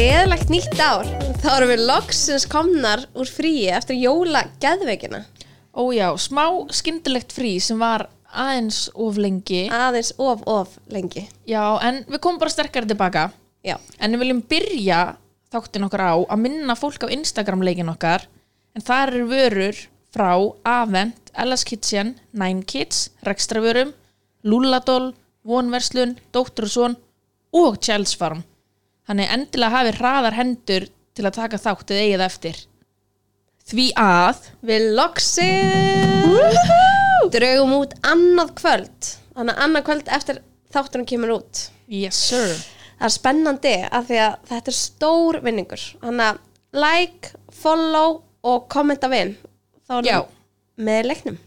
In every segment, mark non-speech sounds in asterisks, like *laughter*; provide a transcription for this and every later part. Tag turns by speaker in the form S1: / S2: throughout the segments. S1: nýtt ár, þá erum við loksins komnar úr fríi eftir jóla geðveikina.
S2: Ójá, smá skyndilegt frí sem var aðeins of lengi.
S1: Aðeins of, of lengi.
S2: Já, en við komum bara sterkari tilbaka.
S1: Já,
S2: En við viljum byrja þáttin okkar á að minna fólk á Instagram leikin okkar. En þar eru vörur frá Avent, LS Kitchen, 9Kids, Rekstravörum, Lúladól, Vonverslun, Dóttur og Són og Chels Farm. Þannig endilega hafi hraðar hendur til að taka þáttið eigið eftir. Því að...
S1: við loksins draugum út annað kvöld. Þannig að annað kvöld eftir þáttunum kemur út.
S2: Yes, sir.
S1: Það er spennandi af því að þetta er stór vinningur. Þannig að like, follow og kommenta við. Þá erum
S2: Já.
S1: með leiknum.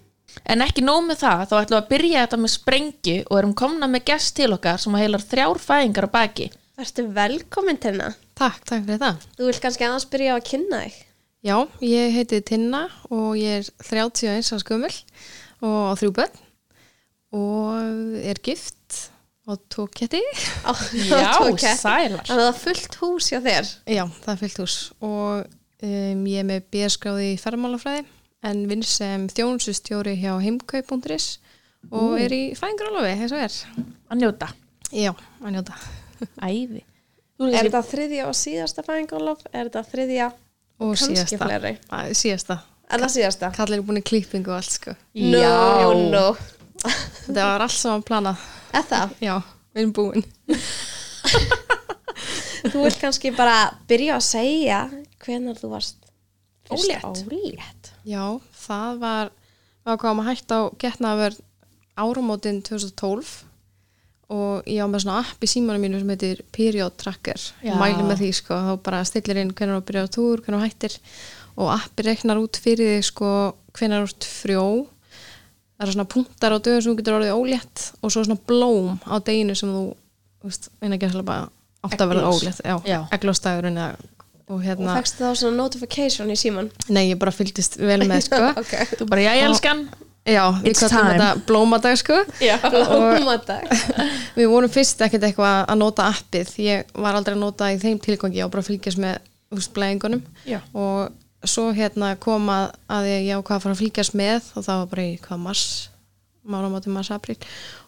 S2: En ekki nóg með það, þá ætlum við að byrja þetta með sprengju og erum komna með gest til okkar sem heilar þrjár fæðingar á baki.
S1: Vertu velkomin til hérna.
S3: Takk, takk fyrir það.
S1: Þú vilt kannski aðeins byrja á að kynna þig.
S3: Já, ég heiti Tinna og ég er 31 árs gömul og á þrjú börn og er gift og tók ketti. *laughs*
S1: Á, *laughs*
S2: Já,
S1: tók ég.
S2: sælar.
S1: Þannig að það er fullt hús hjá þér.
S3: Já, það er fyllt hús og um, ég er með bérskráði í ferðmálafræði en vinn sem þjónsustjóri hjá heimkaup.is og er í fæðingarólofi, eins og er.
S2: Að njóta.
S3: Já, að njóta.
S2: Æði.
S1: Er þetta þriðja og síðasta fæðingarlof? Er þetta þriðja?
S3: Og
S1: Kannski
S3: síðasta.
S1: fleiri.
S3: Að, síðasta.
S1: Er það síðasta?
S3: Kallir er búin í klippingu og allt sko.
S1: No,
S2: Já.
S1: no.
S3: Þetta var allt saman planað.
S1: Er það?
S3: Já, við erum búin.
S1: Þú vilt kannski bara byrja að segja hvenar þú varst fyrst
S2: Ólétt.
S1: Ólétt.
S3: Já, það var við ákváðum að hætta á getnaverð áramótin 2012 og ég á með svona app í símanum mínu sem heitir Period Tracker
S2: Já.
S3: mæli með því sko, þá bara stillir inn hvernig þú byrjar á túr, hvernig þú hættir og appi reknar út fyrir þig sko hvernig þú ert frjó það eru svona punktar á dögum sem þú getur orðið ólétt og svo svona blóm á deginu sem þú, þú veist, minna ekki að bara átt að verða
S2: Egglos.
S3: ólétt, já,
S2: Já.
S3: eglóstaðurinn og
S1: Og
S3: hérna,
S1: fegstu þá svona notification í síman?
S3: nei ég bara fylgdist vel með sko
S1: Ok.
S2: Þú bara, *laughs* já, ég elskan.
S3: Já, við
S2: It's
S3: kallum
S2: time.
S3: þetta blómadag
S2: *laughs*
S3: sko
S2: Já.
S1: Blómadag.
S3: Við vorum fyrst ekkert eitthvað að nota appið ég var aldrei að nota í þeim tilgangi og bara að fylgjast með húsblæðingunum
S2: Já.
S3: og svo hérna kom að, að ég ákvað að fara að fylgjast með og það var bara í hvað mars mánamáti mars apríl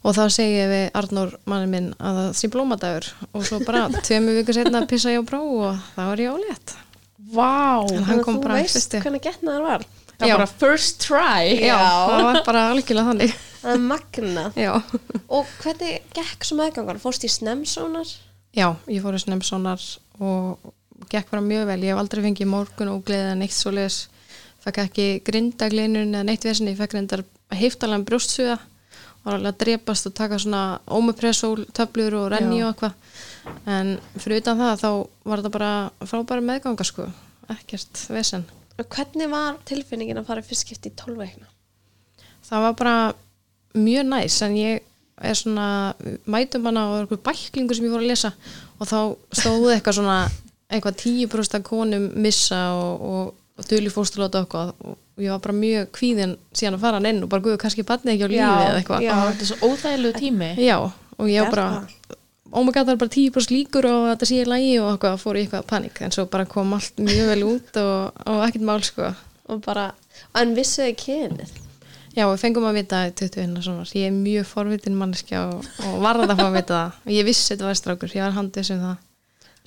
S3: og þá segi ég við Arnór manni minn að það sé blómadagur og svo bara
S2: *laughs*
S3: tveimu viku setna pissa ég á brá og þá er ég ólétt
S2: Vá.
S3: En hann kom bara fyrsti
S1: Þú veist hvernig getnaðar var.
S2: Það
S3: Já.
S2: var bara first try.
S3: Já,
S1: Já.
S3: það var bara algjörlega þannig
S1: Það er magnað.
S3: Já
S1: Og hvernig gekk svo meðgangar? Fórst í snemsónar?
S3: Já, ég fór í snemsonar og gekk bara mjög vel. Ég hef aldrei fengið morgun og gleðið neitt svo leis. Fekk ekki grindaglinun eða neitt vesinni. Ég fekk reyndar heiftalega brjóstsuða og var alveg að drepast og taka svona ómupressól, töflur og renni
S2: Já.
S3: og eitthvað. En fyrir utan það þá var þetta bara frábæri meðganga sko. Ekkert vesinn.
S1: Og hvernig var tilfinningin að fara í fyrst skipti í 12 veikna?
S3: það var bara mjög næs en ég er svona mætum hana og einhver bæklingu sem ég voru að lesa og þá stóðu eitthvað svona eitthvað tíu brústa konum missa og, og, og duli fósturlóta okkur og ég var bara mjög kvíðin síðan að fara hann inn og bara guðu kannski barnið ekki á lífi
S1: Já,
S3: eða eitthvað
S1: já.
S2: Já, þetta er svo óþægilegu tími.
S3: Já, og ég
S1: Er
S3: var bara oh my god það er bara tíu brúst líkur og þetta sé í lagi og eitthvað, fór í eitthvað panik en svo bara kom allt mjög vel út og, og ekkert mál sko
S1: Og bara, en vissuði kynið?
S3: Já, við fengum að vita í 21. sonar. Ég er mjög forvitin manneskja og, og varð að fá að vita það. Ég vissi þetta var strákur, ég var handið um það.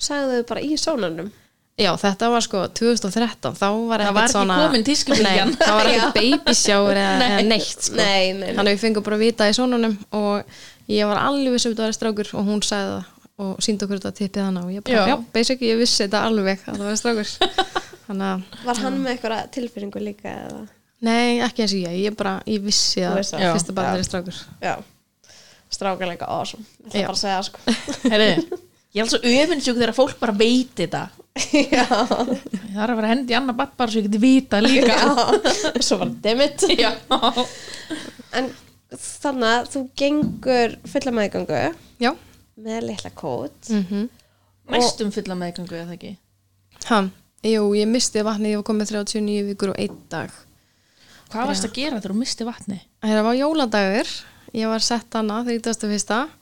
S1: Sagðu þau bara í sónarnum?
S3: Já, þetta var sko 2013, þá var
S2: Það
S3: ekkert
S2: var ekki
S3: svona...
S2: komin tískubylgjan.
S3: Nei, það
S2: *laughs*
S3: var ekkert babysjáur eða,
S2: Nei.
S3: eða neitt, sko.
S1: Nei, nei, nei.
S3: Þannig að við fengum bara að vita í sonunum og ég var alveg vissum þetta var strákur og hún sagði það og síndi okkur þetta tippið hana og ég bara,
S2: Já.
S3: já, basic, ég vissi þetta alveg að það var
S2: *laughs*
S3: strákur. Þannig að,
S1: Var hann með eitthvað tilfinningu líka eða?
S3: nei, ekki eins og ég, ég bara, ég vissi
S1: Þú
S3: að
S1: veist það.
S2: Já.
S3: fyrsta barn er strákur.
S1: Já. Strákalega awesome. Ég ætla
S3: Já.
S1: bara að segja það, sko.
S2: Herriði, ég er alveg svo öfinsjúk þegar fólk bara veit þetta.
S1: Já.
S2: Það er að vera hendi annað batt bara svo ég geti vita líka.
S1: Já. Svo bara demitt.
S2: Já.
S1: En þannig að þú gengur fulla meðgangu
S3: Já.
S1: með litla kót.
S3: Mm
S2: Næstum fulla meðgangu eða ekki.
S3: Ha, jú, ég misti vatnið, ég var komið 39 vikur og einn dag.
S2: Hvað varst að gera þegar þú misti vatni?
S3: Það var jóladagur, ég var sett hana 31.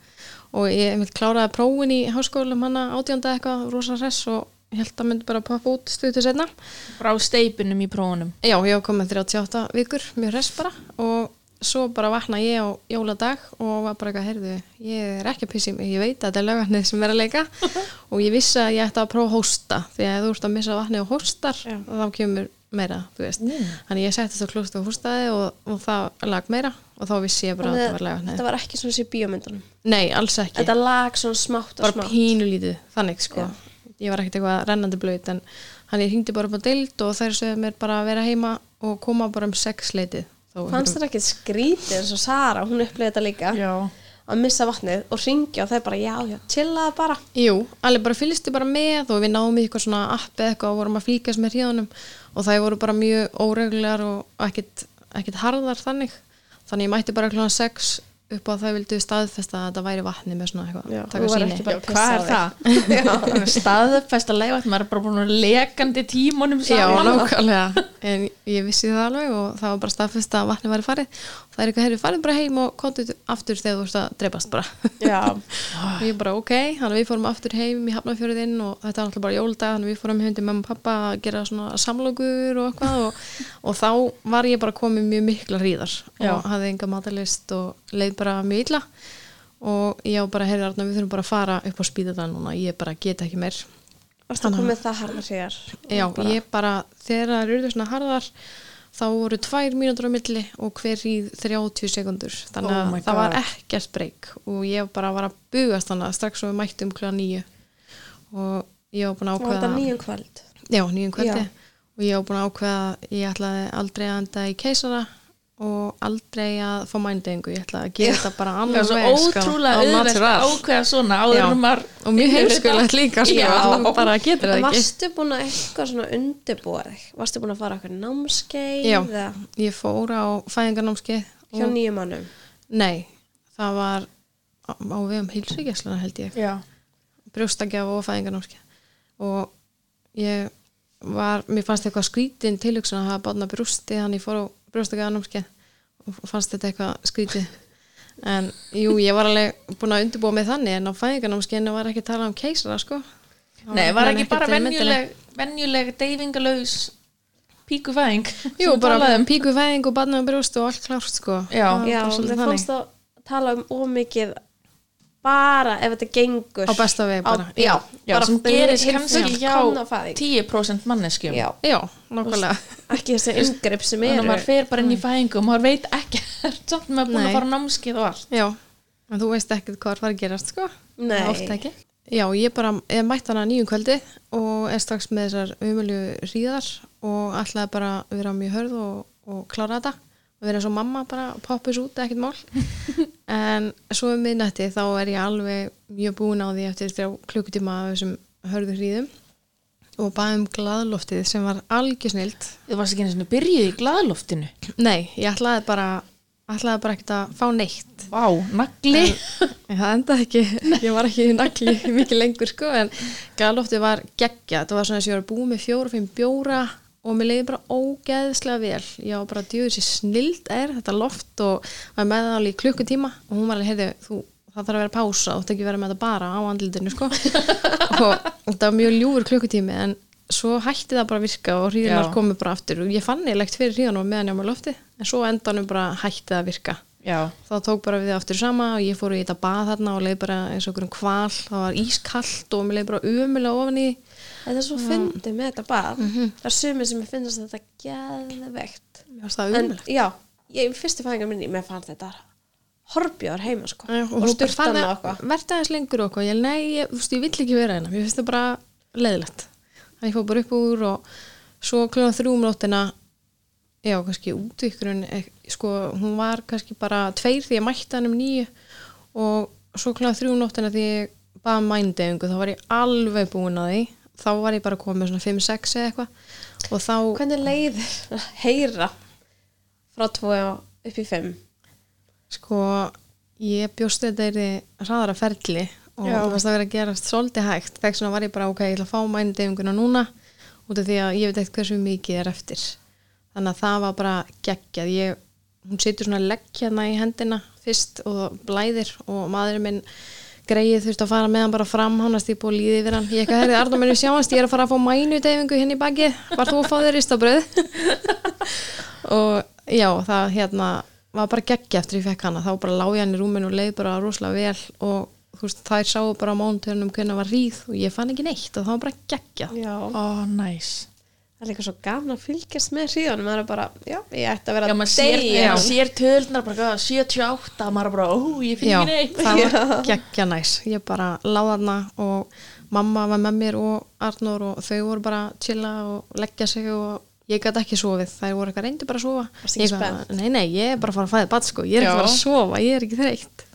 S3: og ég einmitt kláraði prófin í háskólanum hana átjönda eitthvað, rosa hress og ég held að myndi bara poppa út stuðu til setna
S2: frá steipinum í prófunum
S3: Já, ég var komin 38 vikur, mjög hress bara og svo bara vakna ég á jóladag og var bara eitthvað, heyrðu, ég er ekki að pissi mig, ég veit að þetta er lögarnið sem er að
S1: *laughs*
S3: leika og ég vissi að ég ætti að prófa að hósta því að ef þú ert að missa vatnið og hóstar
S1: Já.
S3: þá kemur meira, þú veist þannig ég settist á klósti og hóstaði og, og það lag meira og þá vissi ég bara að þetta var
S1: þetta
S3: lögarnið
S1: var ekki svona sér bíómyndunum
S3: Nei, alls ekki
S1: Þetta lag svona smátt og
S3: bara
S1: smátt
S3: pínulítið, þannig sko ég var ekkert eitthvað rennandi blöyt en hann ég hringdi bara upp á deild og þær sögðu mér bara að vera heima og koma bara um sex leitið
S1: Fannst þetta ekki skrítið eins og Sara, hún upplifði þetta líka
S2: Já.
S1: að missa vatnið og ringja og það er bara já, já, chillaði bara
S3: Jú, alveg bara fylgstu bara með og við náum í eitthvað svona app eða eitthvað og vorum að fylgjast með hríðunum og það voru bara mjög óreglulegar og ekkit, ekkit harðar þannig þannig ég mætti bara kljóðan sex upp á að það vildu staðfesta að þetta væri vatni með svona eitthvað,
S1: Já,
S3: taka
S1: þú var
S3: sýni
S1: ekki
S2: Já,
S1: bara-
S2: hvað er
S3: *laughs*
S2: það? staðfest að leiða maður er bara búin að vera lekandi tímunum
S3: Já,
S2: saman.
S3: nákvæmlega En ég vissi það alveg og það var bara staðfest að vatni væri farið og það er eitthvað, heyrðu, farið bara heim og kontu aftur þegar þú ert að dreipast bara
S1: Já,
S3: og ég bara, ok, þannig að við fórum aftur heim í Hafnarfjörðinn og þetta var náttúrulega bara jóldag þannig að við fórum heim til mamma og pappa að gera svona samlokur og eitthvað og, og þá var ég bara komið mjög mikla hríðar
S2: Já.
S3: og hafði enga matalist og leið bara mjög illa og ég á bara, heyrðu, Arna, við þurfum bara að fara upp á spýðaðan núna, ég bara get ekki meir
S1: varstu hérna að koma með það harðar hér
S3: Já, ég bara, þegar það eru svona harðar þá voru tvær mínútur á milli og hver í 30 sekundur þannig
S2: Oh
S3: að
S2: my
S3: það var
S2: God.
S3: ekkert breyk og ég bara var að bugast þannig að strax og við mættum kljóða nýju og ég var búin að
S1: Og þetta
S3: ákveða
S1: nýjum kvöld
S3: Já, nýjum kvöldi
S1: Já.
S3: og ég var búin að ákveða að ég ætlaði aldrei að enda í keisara og aldrei að fá mændegingu ég ætlaði að gera þetta bara
S2: Það er
S3: annars
S2: svo
S3: sko, á
S2: ótrúlega auðvelt
S3: natural.
S2: að ákveða svona áður
S3: Já.
S2: en maður
S3: og mjög heimskulegt líka sko,
S2: Já.
S3: maður bara getur það ekki
S1: Varstu búin að eitthvað svona undirbúa þig? Varstu búin að fara okkur námskeið?
S3: Já,
S1: eða
S3: ég fór á fæðingarnámskeið
S1: Hjá nýjum mannum?
S3: Nei, það var á, á vegum hilsugjæsluna held ég
S2: Já,
S3: brjóstakjaf og fæðingarnámskeið og ég var, mér fannst eitthvað skrítin tilhugsun að hafa barna brjósti þannig ég fór á brjóstakjafanámskeið og fannst þetta eitthvað skrítið en jú, ég var alveg búin að undirbúa mig þannig en á fæðingarnámskeiðinu var ekki að tala um keisara sko Það
S2: nei, var
S3: allavega
S2: ekki
S3: ekkert
S2: bara
S3: í myndinni.
S2: venjuleg, venjuleg deyfingalaus píkufæðing
S3: Jú,
S2: sem
S3: bara
S2: talaði um.
S3: píku fæðing og barna brjóst og allt klárt sko
S2: Já.
S3: Það var
S1: Já,
S3: bara
S1: mér
S3: svolítið þannig.
S1: fannst það tala um ómikið bara ef þetta gengur
S3: Á besta vegi bara.
S1: já,
S2: Já, sem gerist kannski hjá
S1: tí
S2: 10% manneskjum
S1: Já,
S3: Já, nákvæmlega
S1: ekki þessi yngreip sem
S2: þannig að
S1: eru
S2: maður fer bara inn í fæðingu og maður veit ekkert *laughs* samt maður búin
S3: Mm. Nei.
S2: að fara á námskeið og allt
S3: Já, en þú veist ekkert hvað var að gerast sko
S1: Nei.
S3: Oft ekki Já, ég bara, ég mætti hana nýjum kvöldi og er strax með þessar umölju ríðar og ætlaði bara að vera mjög hörð og, og klára þetta og vera eins og mamma bara poppis út, ekkert mál en svo um miðnætti þá er ég alveg mjög búin á því eftir þrjá klukkutíma af þessum hörðu hríðum og baði um glaðloftið sem var algjör snilt
S2: Þú varst ekki einu sinni byrjuð í glaðloftinu
S3: Nei, ég ætlaði bara ætlaði bara ekkert að fá neitt
S2: Vá, nagli
S3: En það endaði ekki, ég var ekki í nagli mikið lengur sko, en galofti var geggja, þetta var svona þess að ég var búið með fjóra, fimm bjóra og mér leiði bara ógeðslega vel, ég var bara djúið sér snild er þetta loft og var með það alveg í klukkutíma og hún var alveg, heyrðu, þú, það þarf að vera pása og þetta ekki vera með þetta bara á andlitinu sko og þetta var mjög ljúfur klukkutími en svo hætti það bara að virka og hríðunar
S2: Já.
S3: komu bara aftur og ég fann eilegt fyrir hríðunum meðan ég var með lofti en svo á endanum bara hætti það að virka
S2: Já,
S3: þá tók bara við aftur sama og ég fór í þetta bað þarna og leið bara eins og okkur um kval það var ískallt og mér leið bara umulega ofan í
S1: Þetta er svo
S2: Mm.
S1: fyndið með þetta bara
S2: Mhm.
S1: Það er sumið sem ég finnst þetta geðveikt
S3: mér varst það
S1: En
S3: umulega
S1: já, ég, fyrstu fæðingar minni mér fann þetta horbjör heima sko
S3: og,
S1: og
S3: og
S1: styrtan og
S3: styrtan að
S1: eitthvað
S3: verða aðeins lengur og okkur ég, nei, ég, þú veist, ég vill ekki vera hérna mér finnst það bara leiðilegt þannig ég fór bara upp úr og svo kljóðan þrjúum nóttina já, kannski útvikkurinn eh, sko, hún var kannski bara tveir því ég mætti hann um nýju og svo kljóðan þrjúum nóttina því ég baða mændefingu, þá var ég alveg búin að því þá var ég bara komið svona 5-6 eða eitthvað og þá
S1: Hvernig leiðir að *laughs* heyra frá tvo upp í fimm
S3: Sko, ég bjóst þetta er þið hraðara ferli og
S2: Já.
S3: það varst að vera að gerast svolítið hægt þegar svona var ég bara, ok, ég ætla að fá mændeyfinguna núna út af því að ég veit ekkert hversu mikið er eftir þannig að það var bara geggjað ég, hún situr svona legg hérna í hendina fyrst og það blæðir og maðurinn minn greið þurfti að fara með hann bara fram hann að stípa og líði yfir hann ég ekki að herðið Arnum minni sjáast, ég er að fara að fá mænudeyfingu henni í baki, var þú að fá þér ristabröð og já, það hérna var bara geggja eftir ég fekk hana, þá bara lág ég hann í rúminu og leið bara rosalega vel og þú veist, þær sáu bara á mánutörnum hvernig var ríð og ég fann ekki neitt og það var bara geggja
S1: Já,
S2: Ó, næs
S1: það er líka svo gaman að fylgjast með hríðunum, maður er bara, já, ég ætti að vera
S2: Já, maður sér,
S1: deyja.
S2: já. sér tölnar bara hvað, 78, maður bara, ó, ég finn
S3: Já,
S2: ekki neitt
S3: það var geggja næs ég bara láða hana og mamma var með mér og Arnur og þau voru bara að chilla og leggja sig og ég gæti ekki sofið, þær voru eitthvað reyndi bara að sofa
S1: Varstu ekki
S3: Ég bara, nei, nei, ég er bara að fara að fæða bat sko, ég er ekki
S2: Já.
S3: að fara að sofa, ég er ekki þreytt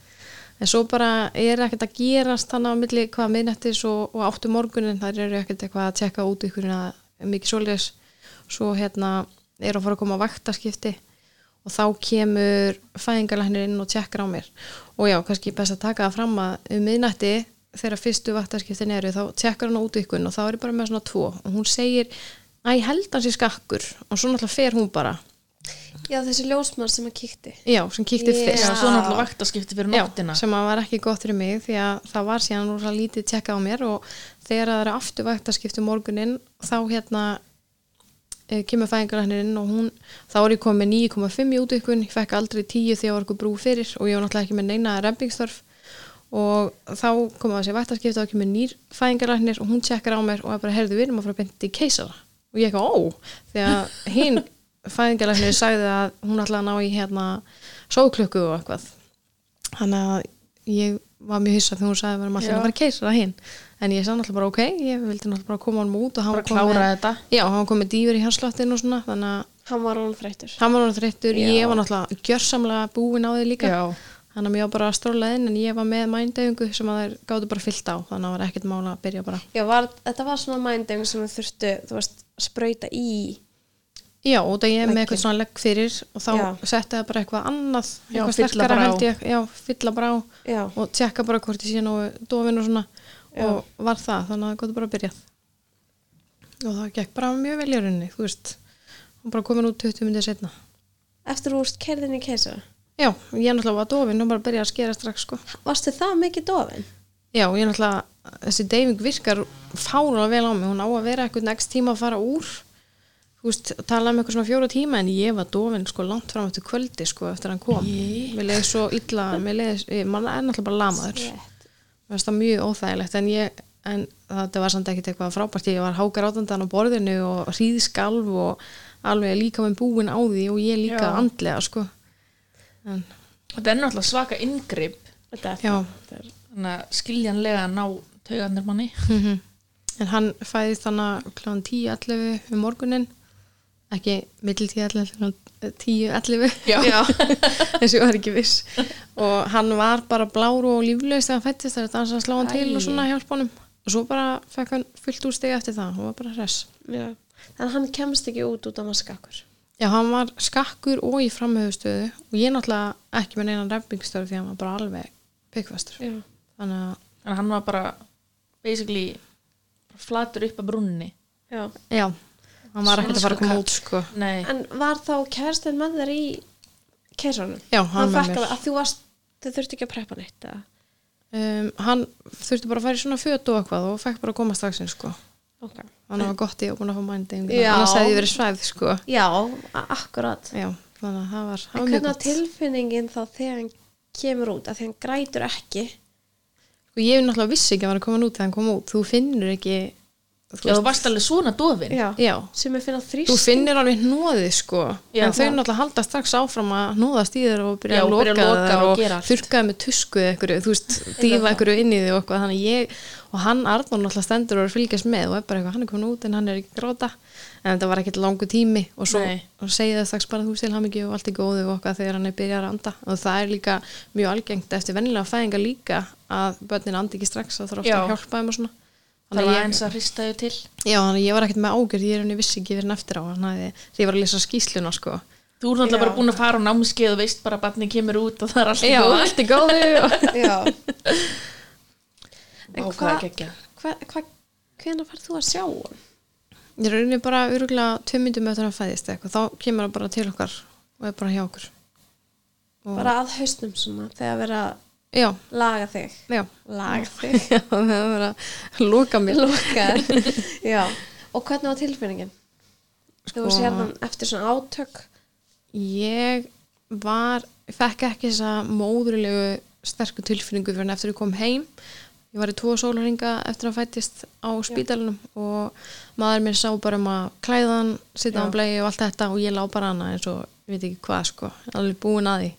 S3: en svo bara er ekkert að gerast þannig á milli hvað miðnættis og, og áttu morgunin, þær eru ekkert eitthvað að tjekka út ykkur að mikið svoleiðis svo hérna er að fara að koma á vaktaskipti og þá kemur fæðingarlæknir inn og tjekkar á mér og já, kannski best að taka það fram að um miðnætti þegar fyrstu vaktaskiptin eru þá tjekkar hann út ykkur og þá er ég bara með svona tvo og hún segir, æ, held hans í skakkur og svo náttúrulega fer hún bara
S1: Já, þessi ljósmann sem að kíkti.
S3: já, sem kíkti
S1: Já.
S3: fyrst
S2: Já, svo náttúrulega vaktaskipti fyrir
S3: Já,
S2: nóttina
S3: sem að var ekki gott fyrir mig því að það var síðan rosa lítið tjekkað á mér og þegar það eru aftur vaktaskipti um morguninn þá hérna e, kemur fæðingarlæknirinn og hún þá er ég komið 9,5 í útvikun ég fekk aldrei 10 því að var eitthvað brú fyrir og ég var náttúrulega ekki með neina rempingstörf og þá kom það sér vaktaskipti og kemur nýr fæðingarlæknir og hún tjekkar á mér og er bara heyrðu við erum að fara að benda í keisara og ég eitthvað ó því að hinn fæðingarlæknir sagði að hún ætlaði að ná í hérna sóklukku og eitthvað þannig að ég var mjög hissa þegar hún sagði að við erum allir
S2: Já.
S3: að fara keisara hinn en ég sagði náttúrulega bara ok, ég vildi náttúrulega bara koma honum út og hann
S2: bara
S3: var komið-
S2: klára þetta
S3: Já, hann kom með dýfur í hanslottin og svona þannig að
S1: Hann var hún þreytur.
S3: hann var náttúrulega þreyttur,
S1: Já.
S3: ég var náttúrulega gjörsamlega búin á því líka þannig að mér var bara að stróla inn en ég var með mændefingu sem að þær gáttu bara fyllt á þannig að það var ekkert mála að byrja bara
S1: Já, var, þetta var svona mænding sem við þurftu, þú veist, sprauta í.
S3: Já, og það ég er
S1: Legginn.
S3: með eitthvað svona legg fyrir og þá
S1: Já.
S3: setti það bara eitthvað annað
S2: Já,
S3: eitthvað
S2: fylla
S3: sterkara
S2: bara á.
S3: held ég, já, fylla bara á
S1: Já.
S3: og tjekka bara hvort ég sé nú dofin og svona og var það, þannig að það gott bara að byrja og það gekk bara mjög vel í rauninni, þú veist og bara komin út 20 myndið setna
S1: Eftir þú úrst kerðin í keisara.
S3: Já, ég náttúrulega var dofin og bara byrjaði að skera strax sko.
S1: Varstu það mikið dofin?
S3: Já, ég náttúrulega, þessi deyfing virkar fárulega vel á mig, hún á að vera eitthvað next tíma að fara úr þú veist, tala um eitthvað svona fjóra tíma en ég var dofin sko langt fram eftir kvöldi sko eftir að hann kom,
S2: Jé.
S3: mér leiði svo illa mér leiði, mann er náttúrulega bara lamaður mér finnst það mjög óþægilegt en ég en þetta var samt ekkit eitthvað frábært ég var hákar átandan á borðinu og hríðskalv og alveg líka með búin á því og ég líka
S2: Já.
S3: andlega sko en,
S2: þetta er náttúrulega svaka yngripp
S1: Þetta er
S3: já,
S1: þetta. er-
S2: þannig að skiljanlega að ná taugarnir manni
S3: mhm. en hann fæðist þannig kláðan 10.11 um morgunin ekki mittiltíð 11 10.11
S2: já, já.
S3: eh, *laughs* eins og ég var ekki viss og hann var bara bláru og líflaus þegar hann fættist þegar þannig að slá hann til og svona hjálp honum og svo bara fekk hann fullt úr stegi eftir það hann var bara hress
S1: Já. Þannig að hann kemst ekki út út af maður skakkur.
S3: Já, hann var skakkur og í framhöfustöðu og ég náttúrulega ekki með neina rempingstörf því að hann var bara alveg byggfastur
S1: Já.
S3: þannig að,
S2: en hann var bara basically bara flatur upp að brunni
S1: Já.
S3: já, hann var ekkert að fara að koma út sko
S2: nei,
S1: En var þá kerstin með þér í keisaranum?
S3: Já, hann var
S1: fekk
S3: mér
S1: alveg að þú varst, þau þurftu ekki að preppa neitt. eða?
S3: um, Hann þurfti bara að fara í svona föt og eitthvað og fekk bara að koma strax inn sko
S1: Ok.
S3: þannig að það var gott ég að búin að fá mændi
S1: Já.
S3: annars hefði ég verið svæð sko
S1: Já, a- akkurat.
S3: Já, þannig að það var, það
S1: En
S3: var mjög
S1: hvernig var
S3: gott
S1: tilfinningin þá þegar hann kemur út? Af því hann grætur ekki.
S3: og ég náttúrulega vissi ekki að hann var að koma út þegar hann kom út, þú finnur ekki þú,
S2: já, þú varst alveg svona dofin
S3: Já.
S1: Sem er finna þrýst.
S3: þú finnur alveg hnóðið sko
S2: Já.
S3: en þau náttúrulega halda strax áfram að hnóðast í þér og byrja
S2: Já,
S3: að
S2: og byrja
S3: loka
S2: að loka
S3: þær
S2: og
S3: og,
S2: gera
S3: og
S2: allt.
S3: þurrkaði með tusku eða einhverju, þú veist, dýfa einhverju inn í þig og eitthvað, þannig að ég og hann Arnór náttúrulega stendur og er að fylgjast með og er bara eitthvað, hann er komin út en hann er ekki að gráta en þetta var ekkit langu tími og svo
S2: Nei.
S3: og segi það strax bara þú stil ham og allt er góðu og okkar þegar hann er byrjað að anda og það er líka mjög algengt eftir vennilega fæðinga líka að börnin andi ekki strax það þarf ofta
S2: Já.
S3: að hjálpa þeim og svona
S2: það
S3: Þannig
S2: var
S3: að ég-
S2: eins að hrista þau til
S3: Já, þannig að ég var ekkert með ágjörð, ég er henni vissi ekki fyrir eftir á hann hafði, þegar ég var að lesa skýsluna sko.
S2: þú er náttúrulega
S1: Já.
S2: bara búin að fara á námskeið og veist bara að barni kemur út og það er alltaf
S3: Já, allt í góðu *laughs* og...
S1: *laughs* Já. En
S2: Vá, hvað er
S1: hvað,
S2: geggjað.
S1: hvað, hvað, hvenær færð þú að sjá hann?
S3: Ég er henni bara öruglega tvö myndum eftir að hann fæðist eitthvað, þá kemur hann bara til okkar og er bara hjá okkur. Og...
S1: Bara að hausnum svona, þegar vera
S3: já,
S1: laga þig
S3: já
S1: laga þig,
S3: Já, það var að lóka mér
S1: lókar
S3: *laughs*
S1: já, og hvernig var tilfinningin?
S3: Sko-
S1: þú veist hérna eftir svona átök
S3: Ég var, fekk ekki þessa móðurilegu sterku tilfinningu fyrir en eftir ég kom heim. Ég var í tvo sólhringa eftir að fættist á spítalunum og maður minn sá bara um að klæða hann,
S1: Já.
S3: sitja á blei og allt þetta og ég lá bara hana eins og ég veit ekki hvað sko, alveg búin að því.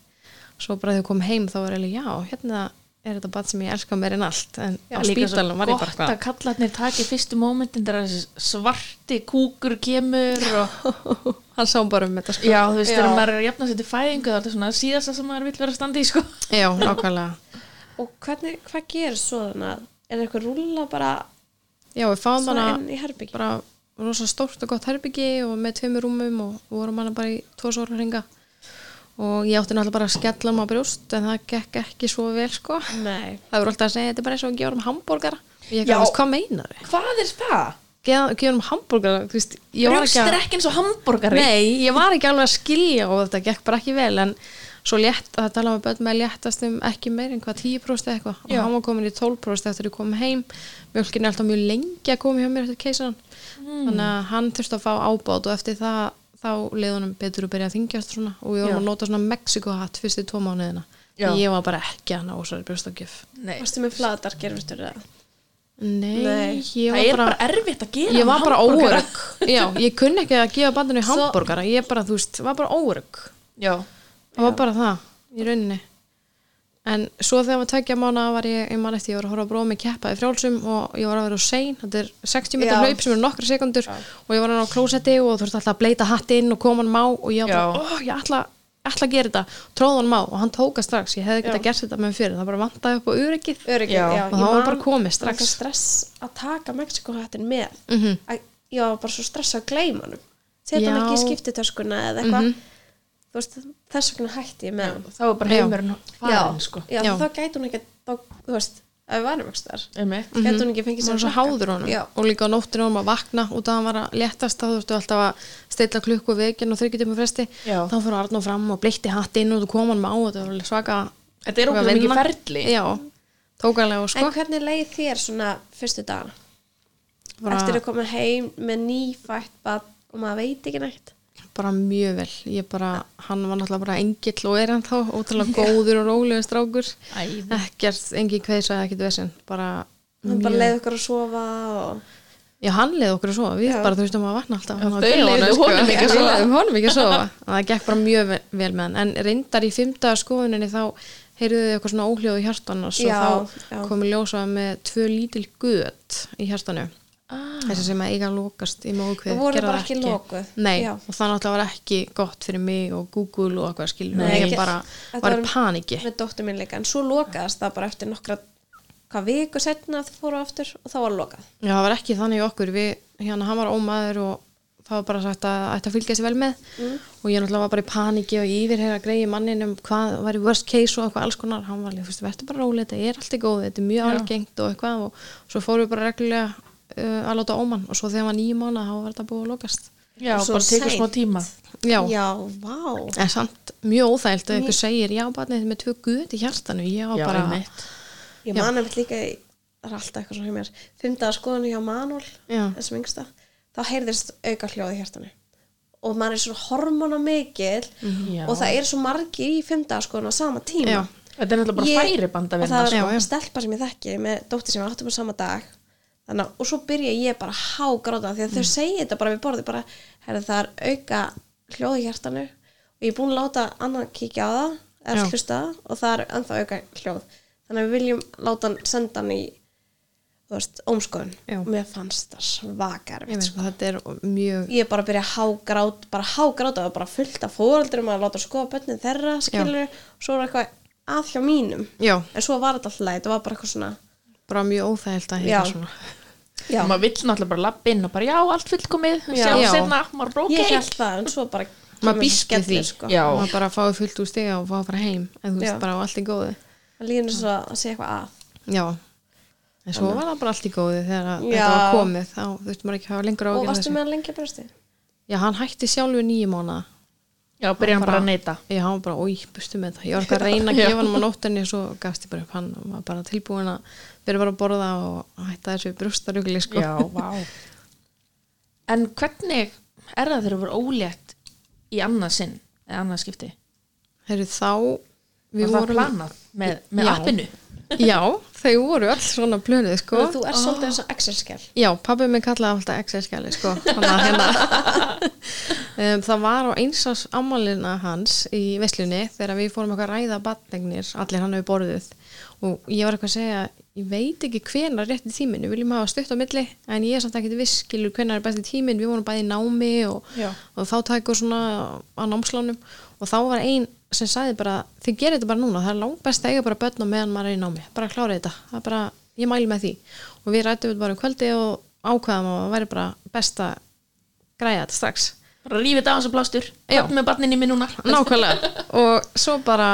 S3: Svo bara þegar ég kom heim þá var ég alveg, já, hérna er þetta bad sem ég elska meir en allt en á spítalunum var ég bara
S2: gott að
S3: hvað.
S2: kallarnir taki fyrstu mómentin þegar þessi svarti kúkur kemur og
S3: Hann sá bara um þetta sko.
S2: já, þú veist,
S1: Já.
S2: þegar maður er að jafna sér til fæðingu þá er þetta svona síðasta sem maður vill vera að standa í sko.
S3: Já, nákvæmlega.
S1: og hvernig, hvað gerir svo þannig að er eitthvað rúla bara
S3: Já, við fáum
S1: svona
S3: hana
S1: inn í herbyggi
S3: bara rosa stórt og gott herbyggi og með tveimur rúmum og við vorum hana bara í tvo sóra hringa og ég átti náttúrulega bara að skella maður brjóst en það gekk ekki svo vel sko
S1: nei,
S3: það voru alltaf að segja þetta er bara eins og að gefa um hambúrgara og ég
S2: Já.
S3: gafast hvað meinar þið?
S2: Hvað er það?
S3: gefa um hambúrgara, þú veist ég var
S2: Brjóst
S3: ekki,
S2: er
S3: að,
S2: ekki eins og hambúrgari
S3: nei, ég var ekki alveg að skilja og þetta gekk bara ekki vel en svo létt, það talaði með börn með að léttast um ekki meir en hvað 10% eða eitthvað og
S2: Já.
S3: hann var komin í 12% eftir ég kom heim mjölkin er alltaf mjög lengi að koma hjá mér eftir keisaran
S2: Hmm.
S3: þannig að hann þurfti að fá ábát og eftir það þá leið honum betur að byrja að þingjast svona og við vorum
S2: Já.
S3: að nota svona Mexiko hatt fyrst í tvo mánuðina
S2: Já.
S3: ég var bara ekki að ná þessari brjóstangjöf
S2: Nei.
S1: varstu með flatar gerfustur eða?
S3: nei,
S1: Nei,
S3: ég
S2: Það er
S3: var
S2: bara
S3: bara,
S2: erfitt að gera
S3: ég var bara
S2: hamborgara.
S3: óörug já, ég kunni ekki að gefa
S2: *laughs*
S3: bandinu hambúrgara ég bara, þú veist, var bara óörug
S2: Já,
S3: það var bara það í rauninni en svo þegar maður tveggja mánu var ég, ég man eftir, ég var að horfa að bróða mig keppa í frjálsum og ég var að vera á sein, þetta er 60 metra
S1: Já.
S3: hlaup sem eru nokkra sekundur og ég var hann á klósetti og þú veist alltaf að bleita hattinn og koma hann má og ég var bara, ó, ég ætla, ætla að gera þetta, tróða hann má og hann tóka strax, ég hefði
S1: Já.
S3: getað gert þetta með fyrir það bara vantaði upp á öryggið
S1: Öryggið,
S2: Já.
S1: já,
S3: Og
S1: ég
S3: það var
S1: man-
S3: bara komið strax.
S1: það var stress að taka Mexikohattin með
S3: mm
S1: að ég var bara svo stressað að gleyma hann setja hann
S3: Já. Mhm.
S1: ekki í skiptitöskuna eða eitthvað þú veist, þess vegna hætti ég með hann
S2: þá er bara
S3: Já.
S2: heimurinn farin sko.
S1: já,
S3: Já.
S1: þá gæti hún ekki þá, þú veist, ef við varum ekki þar
S2: Einmitt.
S1: gæti hún ekki fengið sér
S3: maður er Mhm. svo
S1: krakka.
S3: háður honum
S1: já,
S3: og líka á nóttinu honum að vakna út að hann var að léttast þá þurftu alltaf að steilla klukku og veginn og þryggjutum og fresti
S2: Já.
S3: þá fór Arnó fram og bleitti hattinn og þú kom hann má og þetta var alveg svaka
S2: Þetta er
S3: svaka
S2: ótrúlega mikið
S3: vinna.
S2: ferli.
S3: já, tókanlega
S1: en
S3: sko
S1: hvernig leið þér svona fyrstu dagana
S3: Bara-
S1: eftir að koma heim með nýfætt bad og maður veit ekki neitt
S3: bara mjög vel, ég bara hann var náttúrulega bara engill og er hann þá ótrúlega góður og rólegur strákur
S2: Æði.
S3: ekkert, engin kveisa eða ekkert vesinn bara
S1: hann bara leið okkur að sofa og
S3: Já, hann leiði okkur að sofa, við
S1: Já.
S3: bara þurftum að vakna alltaf Hann var
S2: þau
S3: að bjóða
S2: leiðu
S3: honum,
S2: honum ekki að
S3: sko. Já,
S2: sofa.
S3: Við leiðum honum ekki að sofa En Það gekk bara mjög ve- vel með hann En reyndar í fymta skoðuninni þá heyrðuðu þið eitthvað svona óhljóð í hjartanu Svo
S1: Já,
S3: þá
S1: já.
S3: komið ljósa með tvö lítil gutt í hjartanu Þessi sem að eiga að lokast í móðkvið
S1: Það Ah. voru
S3: gera
S1: bara
S3: það
S1: ekki lokuð.
S3: Nei,
S1: Já.
S3: og það náttúrulega var ekki gott fyrir mig og Google og eitthvað skilur
S1: Nei,
S3: Ég
S1: ekki-
S3: bara
S1: Þetta
S3: var í
S1: var-
S3: paniki
S1: með dóttur minn líka en svo lokaðast það bara eftir nokkra hvað viku setna þau fóru aftur og þá var lokað
S3: Já, það var ekki þannig í okkur við, hérna, hann var ómaður og það var bara sagt að ætti að fylgja sér vel með og ég náttúrulega var bara í paniki og yfirherra greiði manninum hvað var í worst case og eitthvað alls konar, hann var alveg, þú veist, verður bara rólega þetta er allt í góð, þetta er mjög algengt og eitthvað og svo fórum við bara reglulega uh, að láta óman og svo þegar hann var nýjum mánu þá var þetta búið að lokast
S2: Já,
S1: Svo
S2: bara tekur
S1: seint.
S2: smá tíma.
S3: Já,
S1: já, vá
S3: en samt mjög óþægilt að einhver segir, já, barnið þitt með tvö guð í hjartanu, já,
S2: Já,
S3: bara
S2: einmitt.
S1: Ég man eftir líka, í- það er alltaf eitthvað svo hjá mér, fymtaða skoðinu hjá Manuel,
S3: Já.
S1: þessum yngsta, þá heyrðist auka hljóði hjartanu. Og maður er svo hormona mikill
S2: Já.
S1: og það er svo margir í fymtaða skoðinu á sama tíma.
S3: Mhm. Já.
S2: Þetta er náttúrulega bara
S1: Ég-
S2: færi banda
S1: Og það
S3: Já,
S1: er
S3: já.
S1: stelpa sem ég þekki með dóttir sem við áttum á sama dag. Þannig, að- og svo byrja ég bara að hágráta því að
S3: Mm.
S1: þau segja þetta bara við borðið bara, herri það er auka hljóði hjartanu og ég er búin að láta annan kíkja á það, eða
S3: Já.
S1: hlusta á það og það er ennþá auka hljóð. Þannig að við viljum láta hann senda hann í þú veist, ómskoðun.
S3: Já.
S1: Mér fannst það svakar.
S3: Ég veit, sko, þetta er mjög
S1: Ég er bara að byrja að hágrát, bara hágráta og bara fullt af fóreldurum að láta skoða bönnin þeirra, skilur, svo er eitthvað að hjá mínum
S3: Já,
S1: en svo var þetta alltaf leið, þetta var bara eitthvað svona
S3: bara mjög óþægilt að
S1: Já.
S3: heita svona
S1: já,
S2: Og maður vill náttúrulega bara lappa inn og bara já, allt fullkomið,
S1: Já.
S2: sjá
S3: Já.
S2: senna, maður bara
S1: ég
S2: ok.
S1: held það en svo bara
S3: maður býst við því
S1: sko.
S2: Já.
S3: maður bara fái fullt úr stiga og fái bara heim en þú
S1: Já.
S3: veist bara á allt í góðu
S1: það líður eins og að segja eitthvað að
S3: já, en svo var það bara allt í góðu þegar að
S1: Já.
S3: þetta var komið þá þurfti maður ekki að hafa lengur
S1: og
S3: ágjörð
S1: varstu með hann lengi að brjósti
S3: já, hann hætti sjálfur nýjum mánuða
S2: Já, byrja hann bara
S3: bara-
S2: að neyta
S3: Já, hann var bara, oi, bustu með það. Ég var eitthvað að reyna að
S2: Já.
S3: gefa hann á nóttinni svo gafst ég bara upp hann og var bara tilbúin að byrja bara að borða og hætta þessu brústarugli, sko.
S2: Já, vá En hvernig er það þegar þú voru ólétt í annað sinn eða annað skipti?
S3: Herru, þá,
S2: Var
S3: við
S2: það
S3: vorum...
S2: planað með, með
S3: Já.
S2: appinu?
S3: *laughs* Já, þau voru alls svona plönuð, sko.
S1: Þú er svolítið eins og Excel-skjál.
S3: Já, pabbi minn kallaði alltaf XS-skjali sko, þannig að hérna
S1: *laughs*
S3: um, það var á einsás ammálina hans í veslunni þegar við fórum eitthvað að ræða batnegnir allir hann hefur borðuð og ég var eitthvað að segja ég veit ekki hvenar rétti tíminn, við viljum hafa stutt á milli en ég er samt ekki viskilur hvenar er besti tíminn við vorum bæði í námi og,
S2: Já.
S3: og þá tækur svona á námslánum og þá var ein sem sagði bara þið gerir þetta bara núna, það er langt best að eiga bara börn á meðan maður er í námi, bara klára þetta það er bara, ég mæli með því og við rættum þetta bara um kvöldi og ákvaðum að það væri bara best að græja þetta strax
S2: Bara rífið það á þessu plástur
S3: Já.
S2: Hvað með barninni minn núna?
S3: Nákvæmlega og svo bara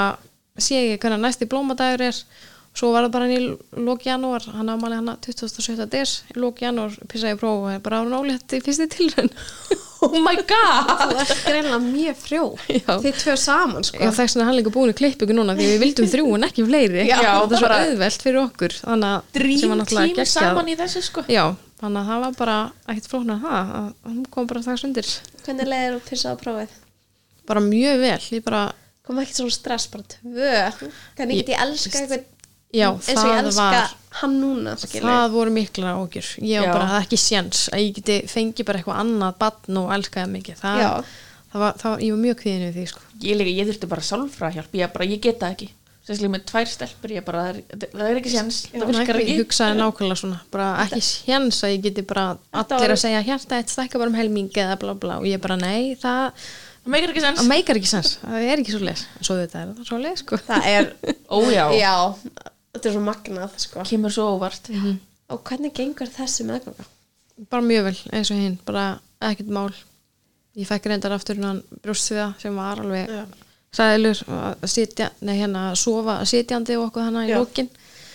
S3: sé ég hvernig næsti blómadagur er svo var það bara hann í lók janúar hann afmæli hann 27. des í lók janúar pissaði ég próf og er bara árun ólétt í fyrsti tilraun
S2: Oh my
S3: *laughs*
S2: god!
S1: Þú ert greinlega mjög frjó.
S3: Já.
S1: Þið tvö saman, sko.
S3: Já, þess vegna er hann líka búin í klippingu núna því við vildum þrjú en ekki fleiri
S2: Já,
S3: það var svo
S2: bara-
S3: auðvelt fyrir okkur þannig að sem var
S2: Dream
S3: náttúrulega
S2: team
S3: geggjað.
S2: saman í þessu sko
S3: Já, þannig að það var bara ekkert flóknar það að hann kom bara strax undir
S1: Hvernig leiðir þú fyrst að prófið?
S3: bara mjög vel, ég bara
S1: Kom ekki svona stress, bara tvö. Hvernig get ég elska eitthvað
S3: já,
S1: eins og ég
S3: það
S1: elska
S3: var
S1: hann núna, skilur.
S3: það voru mikla ágjur ég
S2: Já.
S3: var bara, það er ekki séns að ég geti fengi bara eitthvað annað badn og elskaði mikið það,
S1: Já.
S3: það, var, það var, ég var mjög kvíðinu því sko.
S2: Ég líka, ég þurfti bara sálfra hjálp Ég bara, ég geta ekki Sérslega með tvær stelpur Ég bara, það er, það er ekki séns Það virkar
S3: ég
S2: ekki
S3: hugsaði nákvæmlega svona bara ekki séns að ég geti bara
S1: Þetta
S3: allir
S1: var-
S3: að segja hjarta eitt stækka bara um helmingi eða bla bla og ég bara nei, það,
S2: Það meikar ekki séns
S3: það meikar ekki séns það er ekki svo leis, svo þetta er það svo leis sko.
S1: Það er,
S3: *laughs*
S2: Ó já,
S1: já, þetta er svo magnað, sko.
S2: kemur svo óvart
S3: Mhm.
S1: Og hvernig gengur þessi meðganga?
S3: bara mjög vel eins og hinn, bara ekkert mál ég fekk reyndar aftur hann brjóstsviða sem var alveg
S1: Já.
S3: sæðilur að sitja, nei hérna að sofa sitjandi og okkur hana í
S1: Já.
S3: lókin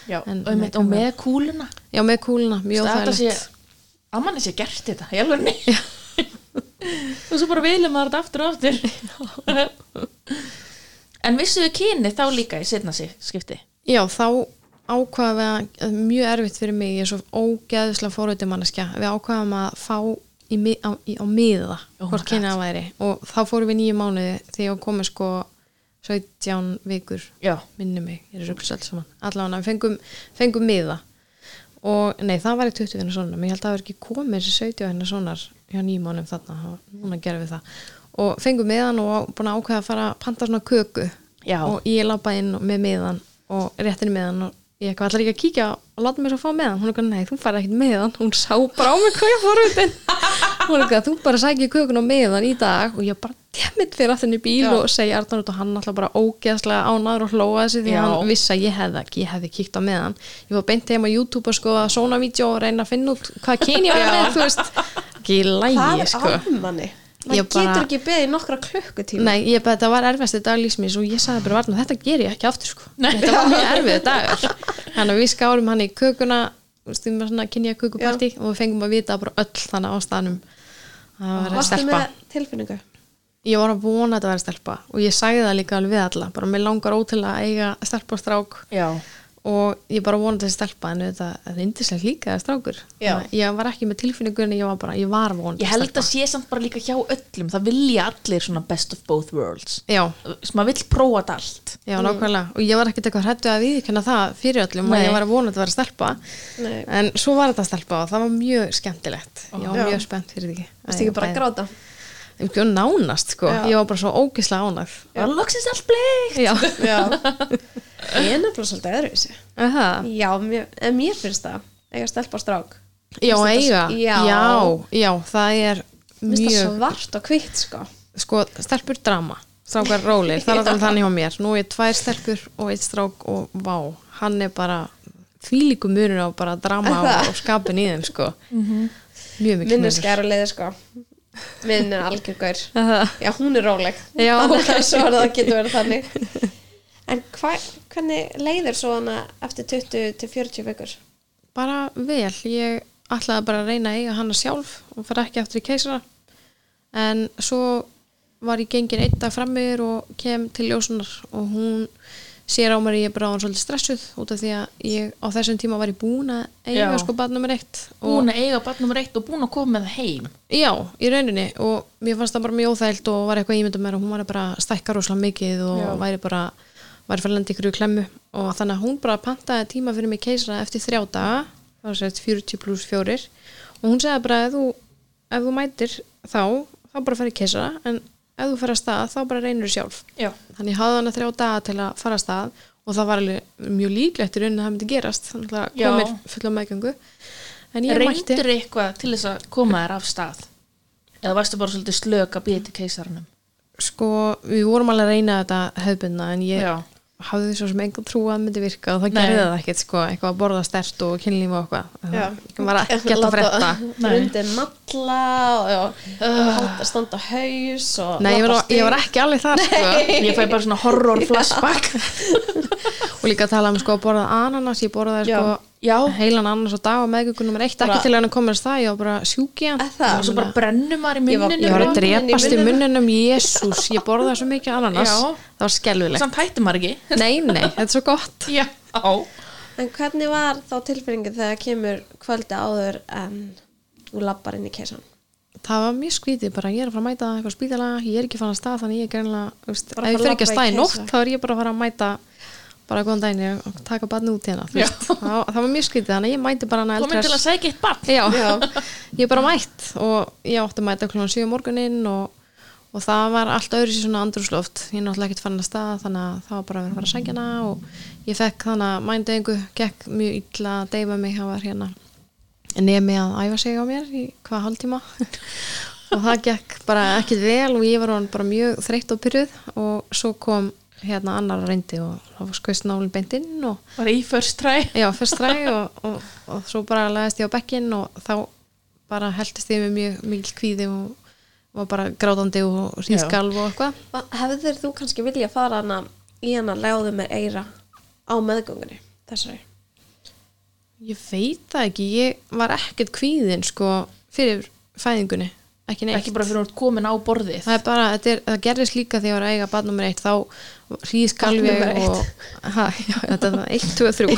S2: Já,
S3: En-
S2: og, með, og með kúluna
S3: já með kúluna, mjög
S2: Þetta sé,
S3: óþægilegt
S2: að manni sé gert þetta Ég alveg nei Og svo bara vilja maður þetta aftur og aftur En vissuðu kyni þá líka í setna sig skipti
S3: já þá ákvaðum við að- að mjög erfitt fyrir mig, ég er svo ógeðslega fóröldum manneskja, við ákvaðum að fá í, mi- á, í, á miða
S2: Oh my God.
S3: hvort kynna það væri og þá fórum við nýju mánuði þegar komið sko 17 vikur
S2: Já,
S3: minnum mig, ég er ruggs alls saman allavega við fengum, fengum miða og nei, það var í 20 hennar sonar menn ég held að það var ekki komið þessi 70 hennar sonar hjá nýjum mánum þarna þá- núna gerum við það og fengum miðan og búin að ákveða að fara að panta svona köku
S2: Já.
S3: og ég labba inn og- með miðan og réttin miðan og ég eitthvað allar ekki að kíkja og láta mér svo fá meðan, hún er eitthvað, nei, þú farið ekkert meðan hún sá bara á mig hvað ég fór út hún er eitthvað, þú bara sækir kökun á meðan í dag og ég bara, demmit fyrir aftur inn í bíl
S2: Já.
S3: og segja Arnar út og hann alltaf bara ógeðslega ánaður og hlóa þessi því
S2: Já.
S3: að hann vissi að ég hefði ekki, ég hefði kíkt á meðan ég var beint heim á YouTube að sko að svona vídeo og reyna að finna út hvað kyn ég var með, þú veist ekki í
S1: Það
S3: lægi,
S1: er
S3: sko
S1: afmanni.
S3: Ég
S1: Maður getur
S3: bara-
S1: ekki beðið í nokkra klukkutíma.
S3: Nei, ég bara, þetta var erfiðasti dag lífsmins og ég sagði bara varna, þetta ger ég ekki aftur sko þetta var mjög erfiði dagur þannig að við skárum hann í kökuna stundum að svona kynja kökuparti og við fengum að vita bara öll þannig á staðnum það var að
S1: Varstu
S3: stelpa
S1: með tilfinningu?
S3: ég var að vona að þetta væri stelpa og ég sagði það líka alveg við alla bara mér langar ótrúlega að eiga stelpa og strák
S2: já
S3: og ég bara vona að þetta er stelpa en þetta er yndislega líka að strákur
S1: Já.
S3: Þannig að ég var ekki með tilfinningunni ég var bara, ég var vonandi
S2: Ég held að sé samt bara líka hjá öllum Það vilja allir svona best of both worlds
S3: já,
S2: Svo maður vill prófa þetta allt
S3: já, nákvæmlega og ég var ekkert eitthvað hrættu að viðkenna það fyrir
S2: Nei.
S3: öllum og ég var að vona að þetta væri stelpa
S1: Nei.
S3: en svo var þetta stelpa og það var mjög skemmtilegt ég var
S1: Já.
S3: mjög spennt fyrir því
S1: Varstu ekki bara að gráta?
S3: Ég var nánast sko,
S1: Já.
S3: ég var bara svo ógislega ánægð
S2: Það er loksins allt bleikt
S1: *laughs*
S3: já,
S1: Já. Ég er nefnilega svolítið öðruvísi.
S3: það
S1: Já, mér, en mér finnst það. Eiga stelpa og strák.
S3: Já,
S1: Mér finnst
S3: eiga,
S1: þetta-
S3: já. já, það er
S1: Mér finnst það
S3: mjög,
S1: svart og hvitt, sko.
S3: sko, stelpur drama, strákar
S1: *laughs*
S3: rólir, það er alltaf þannig hjá mér, nú er tvær stelpur og eitt strák og vá, hann er bara þvílíku munur á bara drama
S1: Er það?
S3: og, og skapin í þeim, sko,
S1: Mhm.
S3: mjög mikil
S1: Minn er skæra leiði, sko. Minn er algjörgur.
S3: Er það?
S1: Já, hún er róleg.
S3: Já,
S1: *laughs* þannig
S3: ok.
S1: að svo er það getur verið þannig. En hva, hvernig leiðir svo hana eftir 20 til 40 vikur?
S3: Bara vel, ég ætlaði bara að reyna að eiga hana sjálf og fara ekki aftur í keisara en svo var ég gengin einn dag fram yfir og kem til ljósunar og hún sér á mér að ég er bara án svolítið stressuð út af því að ég á þessum tíma var ég búin að eiga
S2: Já.
S3: sko bad nummer eitt og,
S2: búin að eiga barn nummer eitt og búin að koma með það heim
S3: já, í rauninni og mér fannst það bara mjög óþægilt og var eitthvað ímyndum mér og hún var að bara stækka rosalega mikið og
S2: Já.
S3: væri bara væri fyrir landi ykkur í klemmu og þannig að hún bara pantaði tíma fyrir mig keisara eftir þrjá daga það var sett 40 pluss fjórir og hún segði bara ef þú, ef þú mætir þá, þá bara ferði keisara en ef þú fer að stað þá bara reynir sjálf
S2: já,
S3: þannig ég hafði hana þrjá daga til að fara að stað og það var alveg mjög líklegt í rauninni að það myndi gerast þannig að
S2: Já.
S3: komir fulla meðgöngu en ég mætti
S2: reyndir eitthvað til þess að koma þér af stað eða varstu bara svolítið slök að býja til keisaranum
S3: sko, við vorum alveg að reyna þetta hefðbundna en ég
S2: Já.
S3: hafði svo sem enga trú að það myndi virka og það
S2: Nei.
S3: gerði það ekkert sko, eitthvað að borða stert og kynlíf og eitthvað það var ekkert að
S2: *laughs*
S3: frétta
S1: *laughs*
S2: Nei.
S1: Rundi matla og, og halda standa haus og
S3: Nei, ég var,
S1: labba
S3: ég var ekki alveg þar sko.
S2: ég fæ bara svona horror flashback
S3: og líka að tala um sko að borða ananas ég borðaði sko
S2: Já. Já.
S3: heilan ananas á dag og meðgöngu nummer eitt ekki
S1: Bara-
S3: til að hann komast það, ég var bara sjúki hann
S1: stig. Eða Það,
S2: og svo bara brennum maður í munninu
S3: Ég var að
S1: Brandinn í
S3: drepast í
S1: munninum.
S3: munnunum, jésús, ég borðaði svo mikið ananas,
S2: Já.
S3: það var skelvilegt.
S2: samt hættum maður ekki
S3: Nei, nei, þetta er svo gott.
S2: já,
S1: En hvernig var þá tilfinningu þegar kemur kvöldi áður en þú lappar inn í keisan?
S3: Það var mjög skvítið bara, ég er að fara að mæta eitthvað spítala, ég er ekki fann að stað, þannig ég er greinlega, þú veist,
S1: Bara
S3: ef ég
S1: fara að
S3: fer ekki
S1: labba
S3: að
S1: í
S3: stað í nótt,
S1: keisa.
S3: þá er ég bara að fara að mæta bara góðan daginn ég- og taka barni út hérna, þú
S2: Já.
S3: veist. Það, það var mjög skvítið, þannig að ég mæti bara hana
S2: komin til að
S3: eldhress.
S2: segja eitt barn
S3: Já, ég er bara mætt og ég átti að mæta klón 7 morguninn og, og það var allt öðru sér svona andrúsloft, ég er náttúrulega ekkert farin að stað þannig að það var bara að vera að fara að sækja hana og ég fekk þannig að mændegingu gekk mjög illa að deyfa mig, það var hérna nemi að æfa sig á mér í hvað hálftíma *laughs* og það gekk bara ekkert vel og ég var hann bara mjög þreytt og pyrruð og svo kom hérna annar reyndi og það var skoist nálinn beint inn og
S2: bara í first try
S3: Já, fyrst ræði og, og, og svo bara lagðist ég á bekkinn og þá bara heldist ég með mjög mikil kvíði og var bara grátandi og hrýskalv og eitthvað.
S1: Va- Hefðir þú kannski vilja fara hana í hana láðu mér eira á meðgöngunni þessari?
S3: Ég veit það ekki, ég var ekkert kvíðin sko fyrir fæðingunni, ekki neitt.
S2: ekki bara fyrir hún komin á borðið
S3: Það er bara, þetta er, það gerðist líka þegar ég var að eiga barn nummer eitt, þá hrýskalv
S1: Barn
S3: ég
S1: númer
S3: og, ha, já, þetta er það, eitt, tvö, þrjú.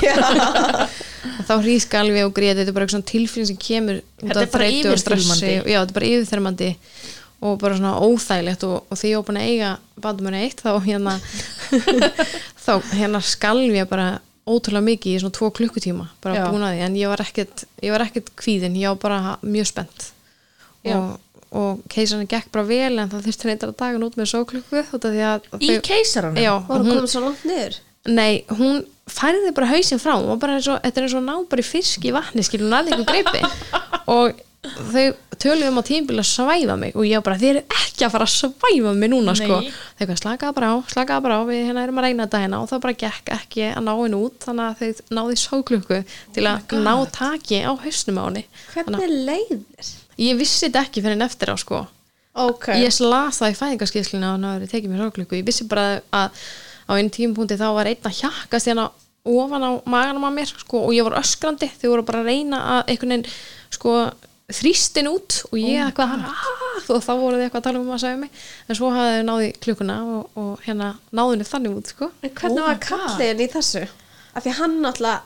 S3: Og *laughs* þá hrýskalv ég og greið, þetta er bara eitthvað svona tilfinn sem kemur út
S2: Þetta er
S3: af
S2: bara
S3: þreytu og stressi.
S2: yfirþyrmandi.
S3: Já, þetta er bara yfirþermandi og bara svona óþægilegt og, og því ég var búin að eiga barn nummer eitt, þá hérna, *laughs* þá hérna skalv ég bara ótrúlega mikið í svona tvo klukkutíma, bara
S2: Já.
S3: búin að því, en ég var ekkert, ég var ekkert kvíðin, ég var bara mjög spennt
S2: Já.
S3: og, og keisarinn gekk bara vel en það þurfti reyndar að daga hann út með sóklukku út af því að
S2: í keisaranum
S3: já,
S1: Var hún
S3: hún,
S1: komið svo langt niður?
S3: nei, hún færði bara hausinn frá hún var bara eins og, þetta er eins og ná bara í fisk í vatni skilur hún aðeins greipi
S2: *laughs*
S3: og þau töluðum á tímbil að svæfa mig og ég var bara, þið eru ekki að fara að svæfa mig núna sko,
S2: Nei.
S3: þau hvað slakaða bara á slakaða bara á, við hérna erum að reyna þetta hérna og það bara gekk ekki að ná henni út þannig að þau náði sóklukku
S2: Oh
S3: til að ná taki á hausnum á henni Þannig að-
S1: Hvernig leiðir?
S3: ég vissi þetta ekki fyrir en eftir á sko
S1: Ok.
S3: ég las það í fæðingarskýrslinu að hann hafi verið tekið mér sorglöku ég vissi bara að á einn tímpúndi þá var einn að hjakka sérna ofan á maganum að mér sko, og ég var öskrandi þau voru bara að reyna að einhvern veginn sko, þrýstin út og ég eitthvað "Ah!" og þá voru þið eitthvað að tala um að segja mig en svo hafði þau náði klukkuna og, og hérna náðinu þannig út sko.
S1: En hvernig
S2: Oh my
S1: var
S2: God.
S1: kalliðin í þessu? Af því hann náttúrulega,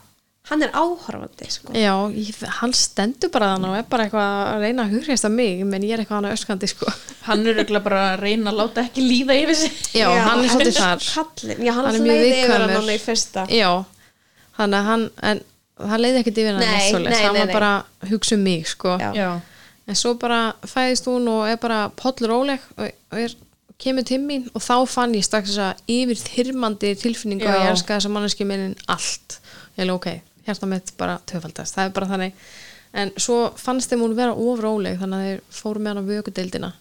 S1: hann er áhorfandi, sko.
S3: já, ég, hann stendur bara þannig og er bara eitthvað að reyna að hurjast að mig menn ég er eitthvað hann öskrandi sko.
S2: hann er auðvitað bara að reyna að láta ekki líða yfir sig
S3: já, hann er svolítið þar
S1: *laughs* Kallinn, já, hann,
S3: Hann er
S1: hann
S3: mjög
S1: leiði yfir hann
S3: viðkvæmur.
S1: núna í fyrsta.
S3: Já, þannig að hann en hann leiði ekkert yfir hann
S1: Nei,
S3: neitt svoleiðis.
S1: nei,
S3: hann
S1: nei,
S3: var
S1: nei.
S3: bara að hugsa um mig sko.
S1: Já.
S3: en svo bara fæðist hún og er bara pollur óleg og, og er, kemur til mín og þá fann ég strax þess að yfir þyrmandi tilfinningu og
S2: Já.
S3: ég elska þess að manneski minnin allt ég er ok, hjarta mitt bara töfaldast það er bara þannig en svo fannst þeim hún vera ofur óleg þannig að þeir fóru með hann á vökudeildina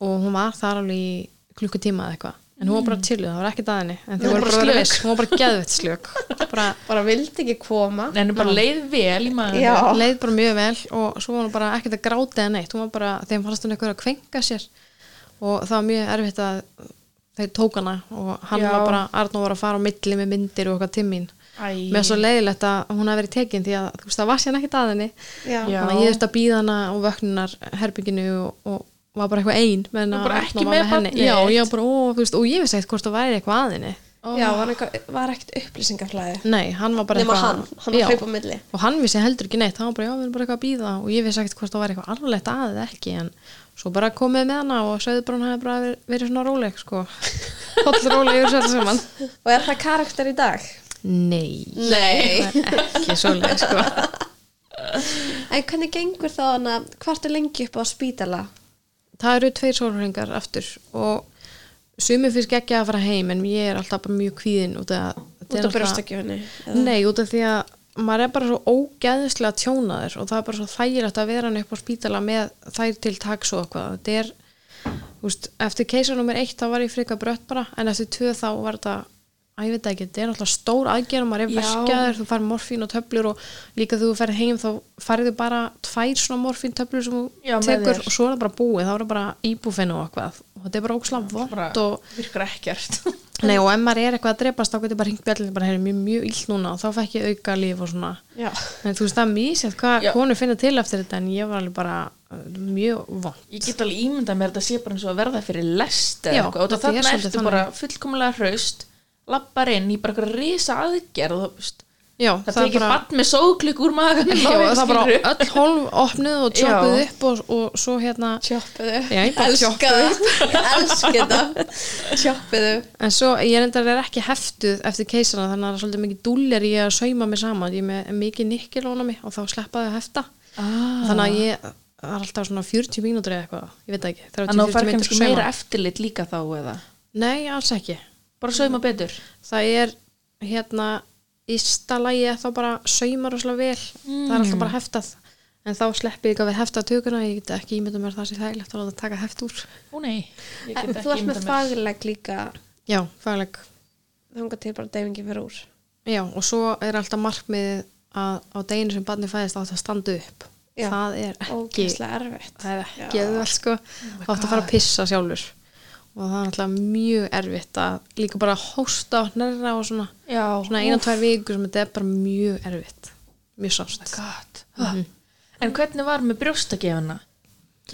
S3: og hún var þar alveg í klukkutíma eða eitthvað en hún var bara chilluð, það var ekkert að henni en þau
S2: Mm. Hún var
S3: voru
S2: bara
S3: bara
S2: slök.
S3: slök, hún var bara geðvett slök
S2: *laughs*
S3: bara
S1: Bara vildi ekki koma.
S2: en bara leið vel í maður
S1: Já.
S3: leið bara mjög vel og svo var hún bara ekkert að gráta eða neitt, hún var bara, þeim fannst hún eitthvað að kvenka sér og það var mjög erfitt að þeir tók hana og hann
S2: Já.
S3: var bara, Arnó var að fara á milli með myndir og eitthvað timmin
S2: Æ.
S3: með svo leiðilegt að hún hafi verið tekin því að þú veist það var sérna ekkert að henni
S1: Já.
S2: Já.
S3: þannig að ég þurfti að býða hana og vöknunar herbygginu og, og, var bara eitthvað ein menna,
S2: Bara ekki með barnið
S3: já,
S2: þitt.
S3: já, bara, ó, þú veist, og ég vissi ekkert hvort það væri eitthvað aðinni
S1: Já, var, eitthvað, var ekkert upplýsingaflæði
S3: nei, hann var Oh. bara
S1: nema
S3: eitthvað
S1: hann, hann var
S3: Já.
S1: hlaup á milli
S3: og hann vissi heldur ekki neitt, hann var bara, já, við erum bara eitthvað að býða og ég vissi ekkert hvort það væri eitthvað alvarlegt að eða ekki en svo bara komið með hana og sagði bara hann hefði bara verið, verið svona róleg sko, *laughs* hóll róleg yfir sér saman
S1: Og er það karakter í dag?
S3: nei,
S1: Nei
S3: ekki svoleið sko
S1: *laughs* En hvernig gengur þá hann að hvart er lengi upp á spítala?
S3: það eru tveir sólhringar aftur og sumir finnst ekki að fara heim en ég er alltaf bara mjög kvíðin út af,
S1: Út á brjóstakjöfunni?
S3: Nei, út af því að maður er bara svo ógeðslega tjónaður og það er bara svo þægilegt að vera hann upp á spítala með þær til taks og eitthvað þetta er, þú veist, eftir keisar nummer eitt þá var ég frika brött bara en eftir tvö þá var þetta að ég veit það ekki, þetta er alltaf stór aðgerð maður er
S1: Já.
S3: verkjaður, þú fær morfín og töflur og líka þú ferð heim þá færðu bara tvær svona morfín töflur sem þú
S2: Já, með
S3: tekur
S2: þér.
S3: og svo er það bara búið þá er það bara íbúfinn og eitthvað og þetta er bara ókslega
S2: bara
S3: vott og
S2: virkar ekkert
S3: Nei og ef maður er eitthvað að drepast þá getur bara hringt bjallin bara hefur mjög, mjög illt núna og þá fekk ég auka líf og svona
S1: Já.
S2: *laughs*
S3: en þú veist það er mísið hvað
S2: Já.
S3: konur finna til eftir þetta en ég var alveg bara uh, mjög vond
S2: ég get alveg ímyndað mér að þetta sé bara eins og að verða fyrir lest eða
S3: Já,
S2: eitthvað og
S3: þetta er
S2: þannig
S3: svolítið
S2: ertu bara fullkomlega hraust lappar inn í bara eitthvað risa aðgerð og, þú veist,
S3: Já,
S2: það, það tekir bara... bann með sóklík úr *laughs* magan
S3: Já, og það bara öll hólf opnuð og tjókuð
S2: Já.
S3: upp og, og svo hérna
S1: Tjóppiðu
S3: Já, ég
S1: *laughs*
S3: bara
S1: Elskaðu Elsku það Tjóppiðu
S3: en svo ég reyndar er ekki heftuð eftir keisana þannig að það er svolítið mikið dúllir ég að sauma mig saman ég er með mikið nikkilóna mig og þá sleppaði að hefta
S2: Ah,
S3: þannig að ég það er alltaf svona 40 mínútur eða eitthvað ég veit það ekki, 30-40
S2: þannig að þú fær
S3: mínútur
S2: kannski
S3: sauma.
S2: meira eftirlit líka þá eða
S3: Nei, alls ekki
S2: bara sauma betur
S3: það er hérna í stalagi er þá bara saumar og vel, það er alltaf bara heftað en þá sleppi ég ekki að við hefta tökuna ég get ekki ímynda mér það sé þægilegt að láta taka heft úr
S2: Ó nei, ég get
S1: En
S2: ekki
S1: Þú ert með
S2: ímyndað mér.
S1: fagleg líka
S3: já, fagleg
S1: þangað til bara deyfingi fyrir úr
S3: já, og svo er alltaf markmiðið að á deginu sem barni fæðist átt að standa upp
S1: Já.
S3: það er ekki
S1: Ógæslega erfitt
S3: það er ekki auðvelt sko þá átt að fara að pissa sjálfur og það er alltaf mjög erfitt að líka bara hósta og hnerra og svona
S2: já,
S3: svona eina, tvær vikur sem þetta er bara mjög erfitt mjög sást
S2: God. Ah. en hvernig var með brjóstakefina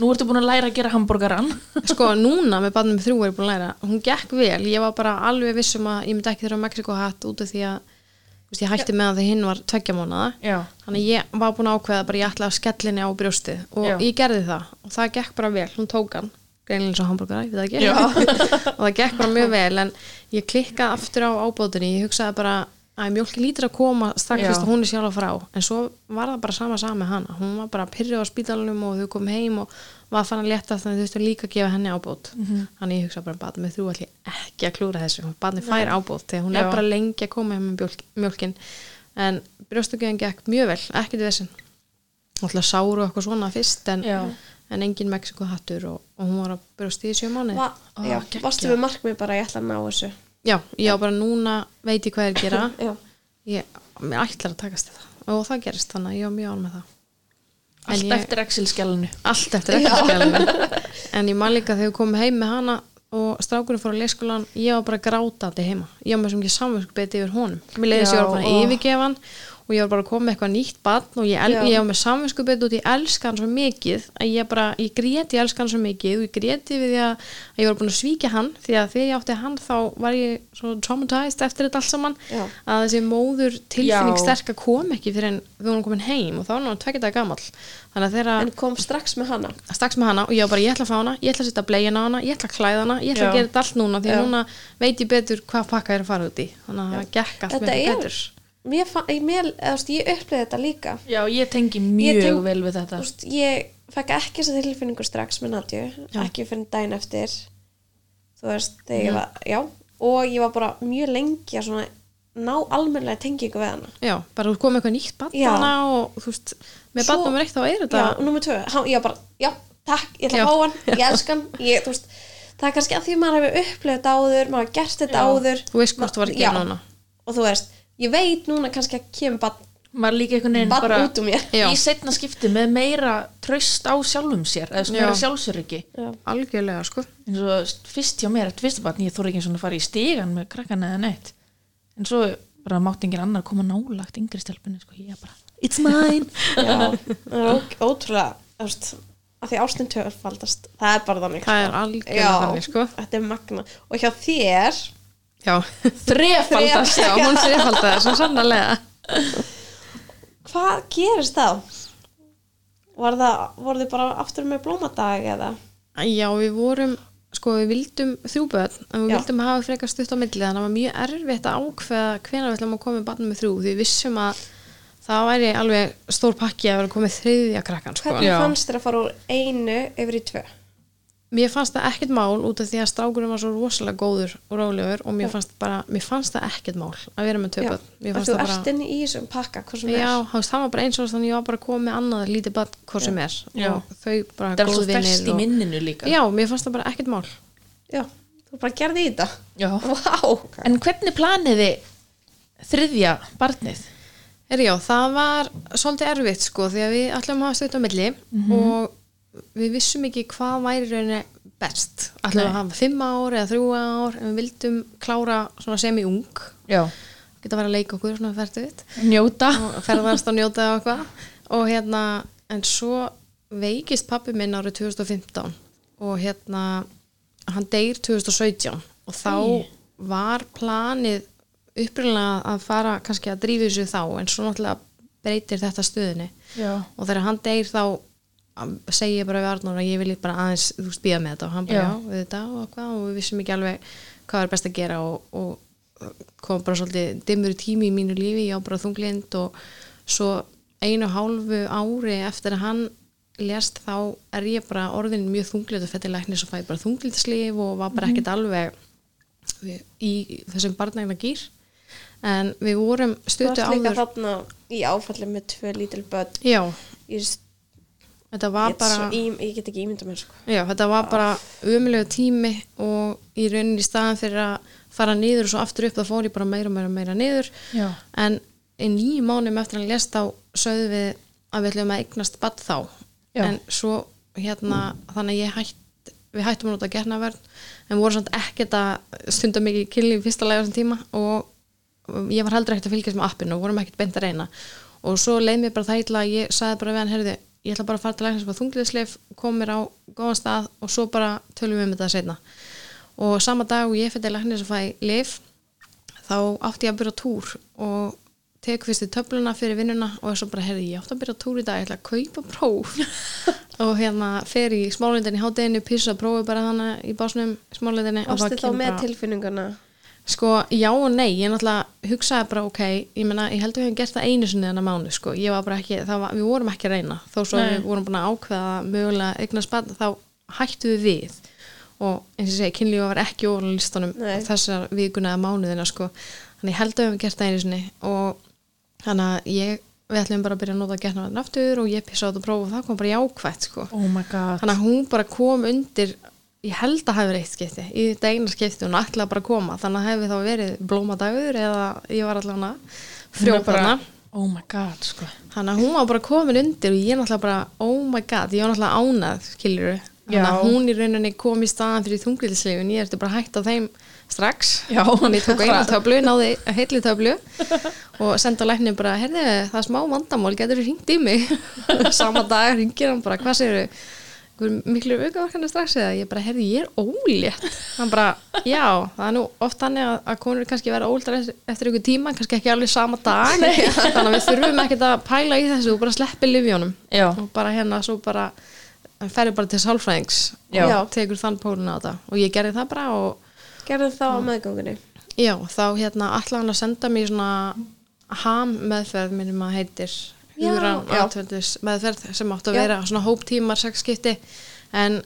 S2: nú ertu búin að læra að gera hambúrgaran
S3: sko núna með barnum þrjú er ég búin að læra hún gekk vel, ég var bara alveg vissum að ég myndi ekki þurfa Mexiko hatt út af því að þú veist, ég hætti með að það hinn var tveggja mánada
S2: já,
S3: þannig að ég var búin að ákveða bara ég ætla að skellinni á brjóstið og
S2: Já.
S3: ég gerði það og það gekk bara vel, hún tók hann greinlega eins og hambúrgara, ég veit það ekki
S2: Já.
S3: *laughs* og það gekk bara mjög vel en ég klikkaði aftur á ábóðinni, ég hugsaði bara að mjólki lítur að koma strax
S2: Já.
S3: fyrst að hún er sjálf að frá en svo var það bara sama sama með hana hún var bara pyrrið á spítalunum og þau kom heim og var fann að leta þannig að þau þurftu líka að gefa henni ábót
S2: Mhm.
S3: þannig ég hugsaði bara bara með þrjú allir ekki að klúra þessu hún barni fær ábót þegar hún
S2: Já.
S3: er bara lengi að koma heim með mjólk- mjólkin en brjóstugjöðin gekk mjög vel, ekkert vesinn alltaf sáru og eitthvað svona fyrst en,
S2: Já.
S3: en engin Mexiko hattur og, og hún var að brjósti í sjö mánuði
S1: Va
S2: Ó,
S1: já,
S2: geggjað.
S1: Varstu með markmið bara ég ætla að ná þessu
S3: já, ég á bara núna veit ég hvað er að
S2: *laughs*
S3: gera
S1: Já
S3: ég, mér ætlar að takast þetta og það gerist þannig að ég var mjög án með það En
S2: allt
S3: ég-
S2: eftir Excel-skjálunu
S3: allt eftir ekkert en ég man líka þegar við komum heim með hana og strákurinn fór á leikskólan ég var bara grátandi heima ég var með sem ekki samvinskbeti yfir honum mér leiðis
S2: Já,
S3: ég var
S2: ó.
S3: bara yfirgefan og ég var bara að koma með eitthvað nýtt batn og ég, el,
S1: Já.
S3: ég var með samvinskbeti og ég elska hann svo mikið að ég bara, ég grét ég elska hann svo mikið og ég gréti við því að, að ég var búin að svíkja hann því að þegar ég átti hann þá var ég svo traumatized eftir þetta allt saman
S1: Já.
S3: að þessi móður tilfinning sterka kom ekki fyrir en þú var komin heim og þá var hann tvekja dag gamall þannig að þegar
S1: En kom strax með hana
S3: strax með hana og ég var bara ég ætla að fá hana, ég ætla að setja blegin á hana, ég ætla að klæða hana, ég
S2: Já.
S3: ætla að gera þetta allt núna því
S1: Já.
S3: að núna veit ég betur hvað pakka er að fara út í þannig að það gekk allt
S1: Þetta
S3: mikið
S1: er
S3: betur
S1: Mér fann, ég, mér, eða, þú veist, ég upplýði þetta líka
S2: já, ég tengi mjög
S1: teng-
S2: vel við þetta
S1: Þú veist, ég fekk ekki þessa tilfinningu strax með Nadju, ekki fyrir daginn eftir þú veist, þegar ég var já, og ég var bara mjög lengi að svona ná almennlega tengingu við hana
S3: Já, bara þú komið eitthvað nýtt
S1: Já.
S3: batna og þú veist, með
S1: Svo-
S3: batna mér eitt þá er þetta
S1: já, og númer tvö, hann, ég var bara, já, takk ég ætla
S3: Já.
S1: að fá hann, ég elska hann ég, þú veist, það er kannski að því maður hefur upplifað þetta áður maður hefur gert þetta áður
S3: Þú veist hvort þú var að gera
S1: Já.
S3: núna.
S1: og þú veist, ég veit núna kannski að kemur bara,
S2: maður líka einhvern veginn
S1: bara
S2: bara
S1: út um mér
S3: Já.
S2: í setna skipti með meira tröst á sjálfum sér eða svona
S3: Já.
S2: meira sjálfsöryggi
S3: algjörlega sko
S2: eins og þú veist, fyrst hjá mér eftir fyrsta barn ég þóra ekki svona að fara í stígan með krakkana eða neitt en svo bara mátti engin annar koma nálagt yngri stelpunni sko, ég bara, it's mine
S1: já, það er ó- ótrúlega þú veist, að því ástin tvöfaldast það er bara þannig
S3: *laughs* Það
S1: sko.
S3: er algjörlega
S1: Já,
S3: þannig, sko.
S1: þetta er magna og hjá þér
S3: Já,
S2: Þrefaldast
S3: já hún þrefaldið það svo sannarlega
S1: hvað gerist þá? Var það, voru þið bara aftur með blómadag eða?
S3: Já, við vorum, sko, við vildum þrjú börn, en við
S1: Já.
S3: vildum hafa frekar stutt á milli, þannig að það var mjög erfitt að ákveða hvenær við ætlum að koma með barnum með þrjú, því við vissum að það væri alveg stór pakki að vera að koma með þriðja krakkan, sko.
S1: Hvernig
S2: Já.
S1: fannst þér að fara úr einu yfir í tvö?
S3: Mér fannst það ekkert mál út af því að strákurinn var svo rosalega góður og rálegur og mér fannst, bara, mér fannst það ekkert mál að vera með tvö börn. Mér
S1: og
S3: fannst
S1: þú
S3: það bara...
S1: ert inn í þessum pakka, hvað sem
S3: Já,
S1: er.
S3: þú veist, það var bara eins og þannig ég var bara að koma með annað lítið barn hvort sem er
S2: Já.
S3: og þau
S2: Það
S3: bara
S2: er svo
S3: góð
S2: fest
S3: vinnir
S2: í
S3: og...
S2: minninu líka
S3: Já, mér fannst það bara ekkert mál
S1: Já, þú bara gerði í þetta.
S2: Já.
S1: Vá.
S2: En hvernig planiði þriðja barnið?
S3: Heri, já, það var svolítið erfitt sko því að við ætlum að hafa stöðt á milli og við vissum ekki hvað væri rauninni best ætlum
S2: Nei.
S3: við að hafa fimm ár eða þrjú ár en við vildum klára svona semi-ung
S2: Já.
S3: geta að vera að leika okkur svona fært við
S2: Njóta?
S3: og ferðast og njóta og eitthvað og hérna, en svo veikist pappi minn árið 2015 og hérna hann deyr 2017 og þá
S2: Æi.
S3: var planið upprýðlega að fara kannski að drífi þessu þá en svo náttúrulega breytir þetta stöðinni
S2: Já.
S3: og þegar hann deyr þá um, segi ég bara við Arnur að ég vil bara aðeins þú veist, bíða með þetta og hann bara
S2: Já.
S3: já, við þetta og, hvað, og við vissum ekki alveg hvað er best að gera og, og kom bara svolítið dimmur tími í mínu lífi, ég á bara þunglind og svo einu og hálfu ári eftir að hann lést þá er ég bara orðin mjög þunglind og fætti læknir svo fæ ég bara þunglindslíf og var
S1: Mhm.
S3: bara ekkert alveg í þessum barnægna gýr en við vorum
S1: Þú
S3: stötu
S1: ert líka
S3: áður
S1: þarna í áfalli með tvö lítil börn.
S3: já,
S1: Ég, ég,
S3: þetta var
S1: bara...
S3: bara
S1: svo, ég, ég get ekki ímynda mér, sko.
S3: Já, þetta var bara umlega tími og í rauninni í staðan fyrir að fara niður og svo aftur upp þá fór ég bara meira og meira og meira niður
S2: Já.
S3: en í nýjum mánum eftir að hann lést þá sögðu við að við ætlum að eignast badd þá
S2: Já.
S3: en svo hérna þannig að ég hætt við hættum að nota getnaverð en voru samt ekkert að stunda mikið kynlíf í fyrsta lega þessum tíma og ég var heldur ekkert að fylgjast með appinu og vorum ekkert beint að reyna og svo leið mér bara það illa að ég sagði bara við hann herði ég ætla bara að fara til læknir sem var þungliðsleif kom mér á góðan stað og svo bara tölum við um þetta seinna og sama dag og ég fyrir til læknir sem fæ lif þá átti ég að byrja á túr og tek fyrst í töfluna fyrir vinnuna og er svo bara, herði, ég átti að byrja á túr í dag ég ætla að kaupa próf
S1: *laughs*
S3: og hérna fer í smálindinni hátæðinu pissa prófi bara hana í básnum smálindinni og
S1: Ástu þá
S3: kemur
S1: með
S3: bara-
S1: tilfinninguna.
S3: Sko, já og nei, ég náttúrulega hugsaði bara, ok, ég meina, ég heldur við hefum gert það einu sinni þennan mánu, sko, ég var bara ekki, það var, við vorum ekki að reyna, þó svo
S2: Nei.
S3: við vorum búin að ákveða mögulega eignar spann, þá hættu við við og eins og ég segi, kynlífa var ekki ofan á listanum
S1: Nei.
S3: þessar vikuna eða mánuðina, sko, þannig ég heldur við hefum gert það einu sinni og þannig að ég, við ætlum bara að byrja að nota getnaverðin aftur og ég pissa á þetta próf og það kom bara jákvætt, sko
S2: Oh my god.
S3: þannig að hún bara kom undir ég held að hafi verið eitt skipti í þetta eina skipti hún ætlaði bara að koma þannig að hefði þá verið blómadagur eða ég var allan að frjóparna
S2: Oh my god, sko.
S3: þannig að hún var bara komin undir og ég náttúrulega bara, oh my god, ég var náttúrulega ánað skiljuru, þannig
S2: Já.
S3: að hún í rauninni kom í staðan fyrir þungriðisleifin, ég ertu bara hægt á þeim strax
S2: Já,
S3: Þannig ég tók einu töflu, náði heilli töflu og sendi á lækni bara, herði, það er smá vandamál, getur þú hringt í mig? *laughs* Sama dag ringir hann bara, hvað segirðu? Einhver miklu aukaverkanu strax eða ég bara, herði, ég er ólétt. Hann bara, já, það er nú oft þannig að, að konur kannski vera óléttar eftir, eftir ykkur tíma, kannski ekki alveg sama
S2: *laughs*
S3: dag. Þannig að við þurfum ekkert að pæla í þessu og bara sleppi livjónum.
S2: Já.
S3: Og bara hérna, svo bara, hann ferði bara til sálfræðings
S2: Já.
S3: og tekur þann póluna á þetta. Og ég gerði það bara og
S1: Gerði það á meðgöngunni.
S3: Já, þá hérna ætlaði hann að senda mér svona ham meðferð minnum að heitir
S1: Já.
S3: hugrann
S1: Já.
S3: atvöldis meðferð sem áttu að
S1: Já.
S3: vera svona hóptímar sex skipti en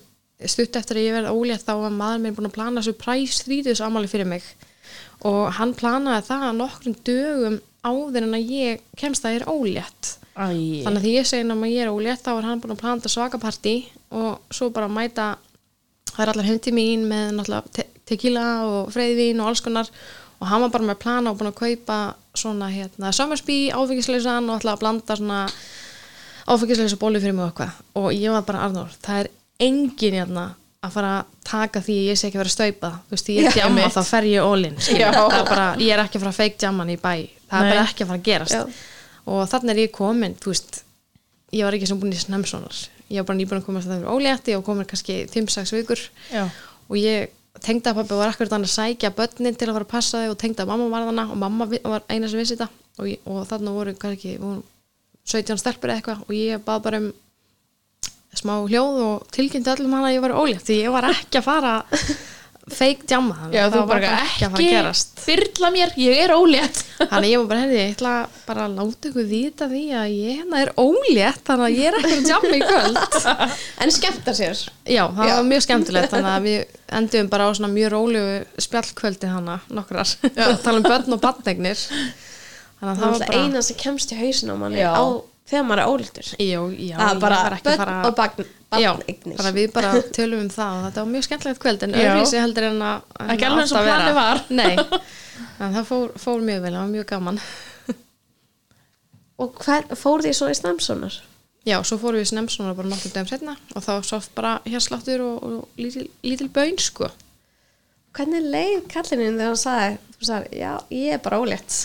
S3: stutt eftir að ég verði ólétt þá var maður minn búin að plana þessu præs þrítus ámáli fyrir mig og hann planaði það nokkrum dögum áður en að ég kemst að ég er ólétt
S2: Æi.
S3: þannig að því ég segi náma ég er ólétt þá er hann búin að plana þetta svakapartí og svo bara mæta það er allar heimti mín með náttúrulega te tequila og freyðvín og alls konar og hann var bara með plana og búin að kaupa svona hérna summersby áfengisleysan og ætla að blanda svona áfengisleysa bólu fyrir mig og eitthvað og ég var bara Arnór, það er engin hérna að fara að taka því að ég sé ekki að vera að staupa þú veist, ég
S2: Já,
S3: er djamma
S2: einmitt.
S3: þá fer ég ólinn
S2: Já.
S3: ég er ekki að fara að feik djamman í bæ það
S2: Nei.
S3: er bara ekki að fara að gerast
S1: Já.
S3: og þannig er ég komin, þú veist ég var ekki sem búin í snemsonar ég var bara nýbúin að komast að það fyrir ólétti og komur kannski 5-6 vikur
S2: Já.
S3: og ég tengda pappi var akkur þannig að sækja börnin til að fara að passa þau og tengda mamma var þannig og mamma vi- var eina sem vissi þetta og, ég, og þannig voru kannski voru 17 stelpur eða eitthvað og ég bað bara um smá hljóð og tilkynnti öllum hana að ég var ólétt því ég var ekki að fara
S2: *laughs*
S3: fake jamma þannig
S2: Já,
S3: að
S2: þú
S3: það var
S2: bara
S3: ekki að fara að gerast
S2: ekki byrla mér, ég er ólétt
S3: Þannig að ég var bara, herði, ég ætla bara að láta ykkur vita því að ég hérna er ólétt þannig að ég er ekki að jamma í kvöld
S1: en skemmta sér
S3: Já, það
S1: Já.
S3: var mjög skemmtilegt þannig að við endum bara á svona mjög rólegu spjallkvöldi hana nokkrar *laughs* tala um börn og barnegnir þannig að
S1: það er
S3: það var
S1: alltaf
S3: bara
S1: eina sem kemst í hausin á manni
S2: Já.
S1: á, þegar maður er ólítur
S3: Jó, já,
S1: það er
S3: ég
S1: bara
S3: var ekki að
S1: börn
S3: fara
S1: og bagn,
S3: Já,
S1: barneignir
S3: bara við bara tölum um það og þetta var mjög skemmtilegt kvöld en
S2: Já.
S3: öðruvísi heldur en að en
S2: Ekki alveg
S3: átti
S2: eins og
S3: að vera.
S2: planið var.
S3: Nei, en það fór, fór mjög vel, það var mjög gaman
S1: og hver, fór því svo í snemsonar
S3: Já, svo fórum við snemsum bara nokkur dögum setna og þá sátt bara hérsláttur og, og lítil, lítil bön sko
S1: hvernig leið kallininn þegar hann sagði þú sagði, já, ég er bara ólétt
S3: *laughs*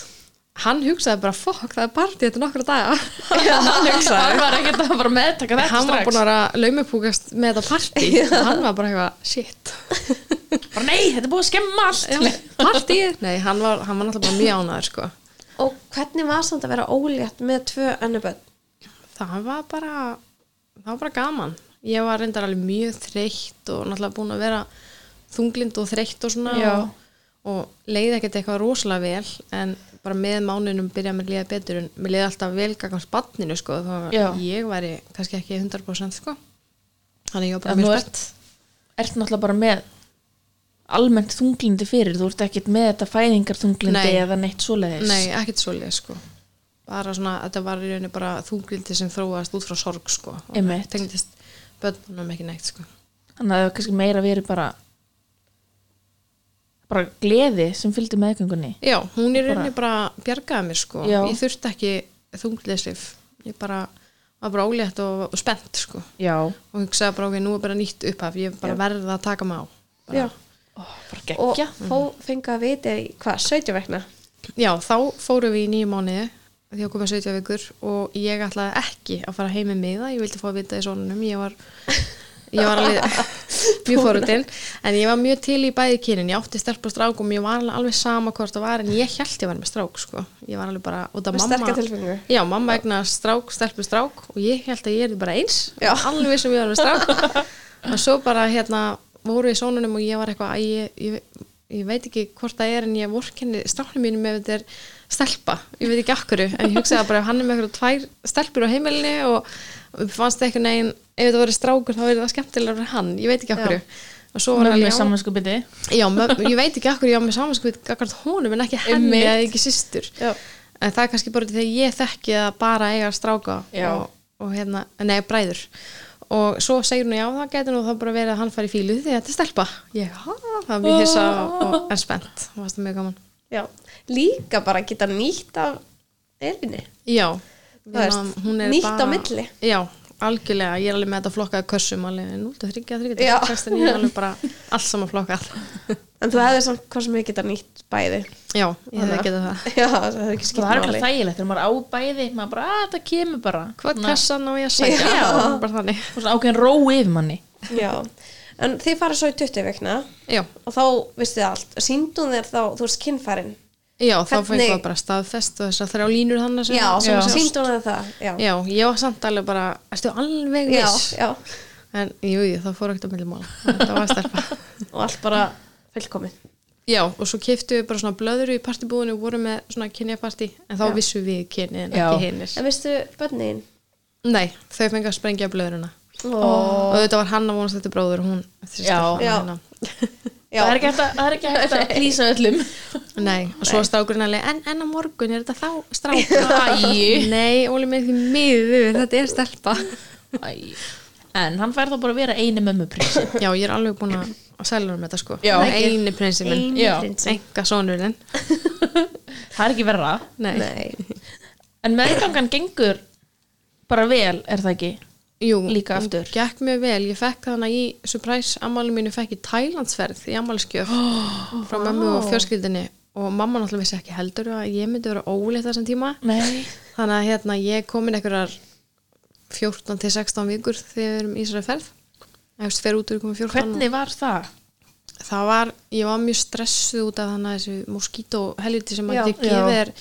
S3: Hann hugsaði bara, fokk, það er partí þetta nokkra daga
S2: hann var ekkert að bara meðtaka þetta
S3: hann var
S2: strax
S3: búin að vera laumupúkast með þetta partí og hann var bara eitthvað, shit
S2: bara nei, þetta er búið að skemma allt
S3: partí, nei, hann var, hann var náttúrulega bara mjög ánæður sko.
S1: og hvernig var samt að vera ólétt með tvö önnuböld
S3: það var bara það var bara gaman ég var reyndar alveg mjög þreytt og náttúrulega búin að vera þunglind og þreytt og svona
S2: Já.
S3: og, og leiði ekkert eitthvað rosalega vel en bara með máninum byrjaði mér að liða betur en mér liði alltaf vel gagast banninu sko, þó að
S2: Já.
S3: ég væri kannski ekki 100% sko þannig ég var bara
S2: en þú
S3: mjög
S2: ert, ert náttúrulega bara með almennt þunglindi fyrir þú ert ekkert með þetta fæðingar þunglindi
S3: Nei.
S2: eða neitt svoleiðis
S3: Nei, ekkert svolítið sko bara svona, þetta var í rauninni bara þunglindi sem þróaðast út frá sorg sko og
S2: Einmitt.
S3: tengdist börnunum ekki neitt sko
S2: þannig að það var kannski meira verið bara bara gleði sem fylgdi meðgöngunni
S3: Já, hún í rauninni bara bjargaði mér sko
S2: Já.
S3: ég þurfti ekki þunglindisif ég bara, var bara ólétt og, og spennt sko
S2: já,
S3: og hugsaði bara ok, nú er bara nýtt upphaf ég er bara verð að taka mig á
S1: já.
S2: Ó, bara
S1: og
S2: geggja
S1: fó, fengu að viti í hvað, 17 vekna
S3: Já, þá fórum við í nýju mánuði því að koma 70 vikur og ég ætlaði ekki að fara heim með miða, ég vildi fá að vita í sonunum, ég var ég
S1: *laughs*
S3: var alveg mjög fórutinn en ég var mjög til í bæði kynin, ég átti stelp og strák og mér var alveg- alveg sama hvort það var en ég held ég var með strák sko, ég var alveg bara út af
S1: Með sterka tilfinningu.
S3: mamma, já, mamma egnaði strák, stelpu strák og ég held að ég er bara eins
S1: Já.
S3: alveg sem ég var
S1: *laughs*
S3: með strák og svo bara hérna voru í sónunum og ég var eitthvað að ég, ég, ég veit ekki hvort það er en ég vorkenni stráknum mínum ef þetta er stelpa, ég veit ekki akkur en ég hugsaði bara hann er með eitthvað tvær stelpur á heimilinu og fannst ekki negin ef þetta voru strákur þá er það skemmtilega fyrir hann, ég veit ekki akkur og svo var
S2: með
S3: alveg-
S2: samansku byrði
S3: Já, mö- ég veit ekki akkur ég á með samanskvít akkvart honum en ekki henni
S2: Einmitt.
S3: eða ekki systur
S1: Já.
S3: en það er kannski bara út af því að ég þekki að bara eiga stráka
S2: Já.
S3: og, og hérna, nei, bræður og svo segir hún já, það getur nú þá bara verið að hann fari í fílu því að þetta er stelpa ég, ha, það er mjög hissa og, og er spennt, það varst það mjög gaman
S1: já. líka bara geta nýtt af elvinni
S3: Já,
S1: Þú veist,
S3: Hérna, hún er
S1: nýtt á milli.
S3: Já, algjörlega, ég er alveg með þetta flokkaði kössum alveg 0, 3, 3,
S1: Já.
S3: 6, 9 alveg
S1: *laughs*
S3: bara allt saman flokkað
S1: en þú hefði samt hvað sem við geta nýtt bæði
S3: Já, ég hefði getað það
S1: já, það hefði ekki
S2: það er
S1: skipt
S2: ekki
S1: máli
S2: þægilegt þegar maður á bæði maður bara, að það kemur bara
S3: hvað
S2: Svona-
S3: kassan á ég að sækja
S1: Já.
S3: bara þannig
S2: og svona ákveðin ró yfir manni
S1: já. en þið farið svo í 20 vekna
S3: já,
S1: og þá vistu þið allt síndum þér þá, þú veist, kinnfærin
S3: já þá
S1: Hvernig-
S3: fengið það bara staðfest og þessar þrjá línur þannig sem
S2: Já.
S1: síndum þér það já,
S3: já, ég var samt alveg bara erstu alveg
S1: já,
S3: viss
S1: já.
S3: en jú, jú, það fór ekkert á milli mála það var stelpa
S1: og allt bara fullkomið
S3: *laughs* já, og svo keftu við bara svona blöðru í partibúinu og vorum með svona kynjapartí en þá vissum við kynið en
S2: Já.
S3: ekki hinnir
S1: en vistu bönnin
S3: nei, þau fengið að sprengja blöðruna
S1: oh.
S3: og þetta var hann að vonast þetta bróður og hún eftir
S2: Já.
S3: stelpan,
S1: Já.
S3: hérna.
S2: það er ekki hægt að- það er ekki hægt *laughs* að lýsa öllum
S3: Nei, og svo strákurinn alveg, en, en á morgun er þetta þá *laughs* strákur?
S2: Æ.
S3: Nei, Óli með því miður, þetta er *laughs* stelpa.
S2: Æ. en hann fær þá bara að vera eini mömmuprins
S3: Já, ég er alveg búin að selja um þetta sko.
S2: Já.
S3: Eini prinsinn minn.
S1: eini
S2: Já.
S1: prinsin
S3: Enga sonurinn.
S2: það er ekki verra
S3: Nei.
S1: nei,
S2: en meðgangan gengur bara vel er það ekki
S3: Jú,
S2: Líka aftur.
S3: Gekk mjög vel, ég fekk þannig í surprise ammáli mínu fekk ég Tælandsferð í ammáliskjöf oh, *gasps* frá mömmu og fjörskildinni og mamma náttúrulega vissi ekki heldur að ég myndi vera óleitt þessum tíma.
S2: nei
S3: Þannig að hérna, ég er komin einhverjar 14 til 16 vikur þegar við erum í þessari ferð eða þú veist, fer út úr komum 14
S2: Hvernig var það?
S3: það var, ég var mjög stressuð út af þannig að þessu moskító helviti sem að
S1: Já.
S3: ég
S2: Já.
S3: gefið er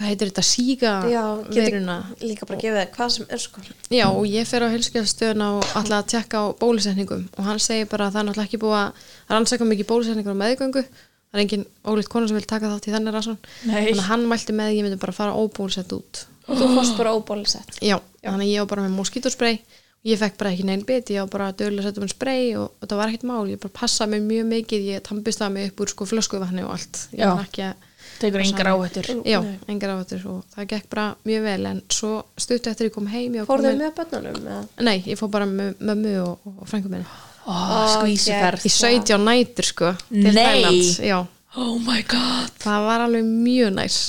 S3: hvað heitir þetta, síga Ah. veruna
S1: líka bara gefið þér hvað sem er sko
S3: já og ég fer á helskjafstöðun og alltaf að tjekka á bólusetningum og hann segir bara að það er náttúrulega ekki búið að rannsaka mikið bólusetningur á meðgöngu það er engin ólitt kona sem vil taka þátt í þenni rannsón
S2: Nei.
S3: þannig að hann mælti með að ég myndi bara fara óbólusett út
S1: þú fórst bara óbólisett
S3: já, þannig að ég var bara með moskítóspray og ég fekk bara ekki neinn bit, ég var bara að dögulega setja mér spray og, og það var ekkert mál, ég bara passaði mig mjög mikið, ég tampistaði mig upp úr sko flöskuvatni og allt, ég
S2: Já.
S3: var ekki að
S2: Tekur engar áhættur
S3: já, engar ávættur og það gekk bara mjög vel en svo stutt eftir ég kom heim ég var
S1: fórðu
S3: komin-
S1: með börnunum eða?
S3: Nei, ég fór bara með mömmu og, og frængu minni
S2: Ó, skvísuferð
S3: í 17 nætur sko til
S2: Nei.
S3: Þælands, já,
S2: Oh my god
S3: það var alveg mjög næs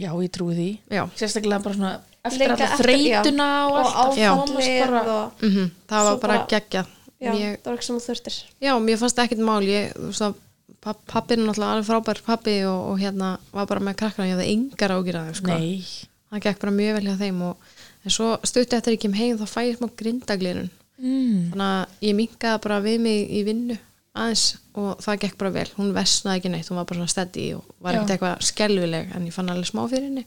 S2: Já, ég trúi því
S3: já,
S2: Sérstaklega bara svona eftir
S1: Líka
S2: alla
S1: eftir-
S2: þreytuna
S1: já.
S2: og allt að
S1: Já.
S2: komast bara-
S1: og
S3: mm það
S1: Svo
S3: var bara
S1: bara-
S3: geggjað
S1: já,
S3: Ég-
S1: það var ekki sem þú þurftir
S3: Já, mér fannst ekkert mál ég, þú veist að pappin er náttúrulega alveg frábær pappi og, og hérna var bara með krakkana ég hafði engar ágjur að þeim sko.
S2: Nei
S3: það gekk bara mjög vel hjá þeim og, en svo stutti eftir ég kem heim þá fæ ég smá grindaglirun
S2: mm.
S3: þannig að ég minkaði bara við mig í vinnu aðeins og það gekk bara vel hún versnaði ekki neitt, hún var bara svona steddi og var
S2: Já.
S3: ekkert eitthvað skelvileg en ég fann alveg smá fyrir henni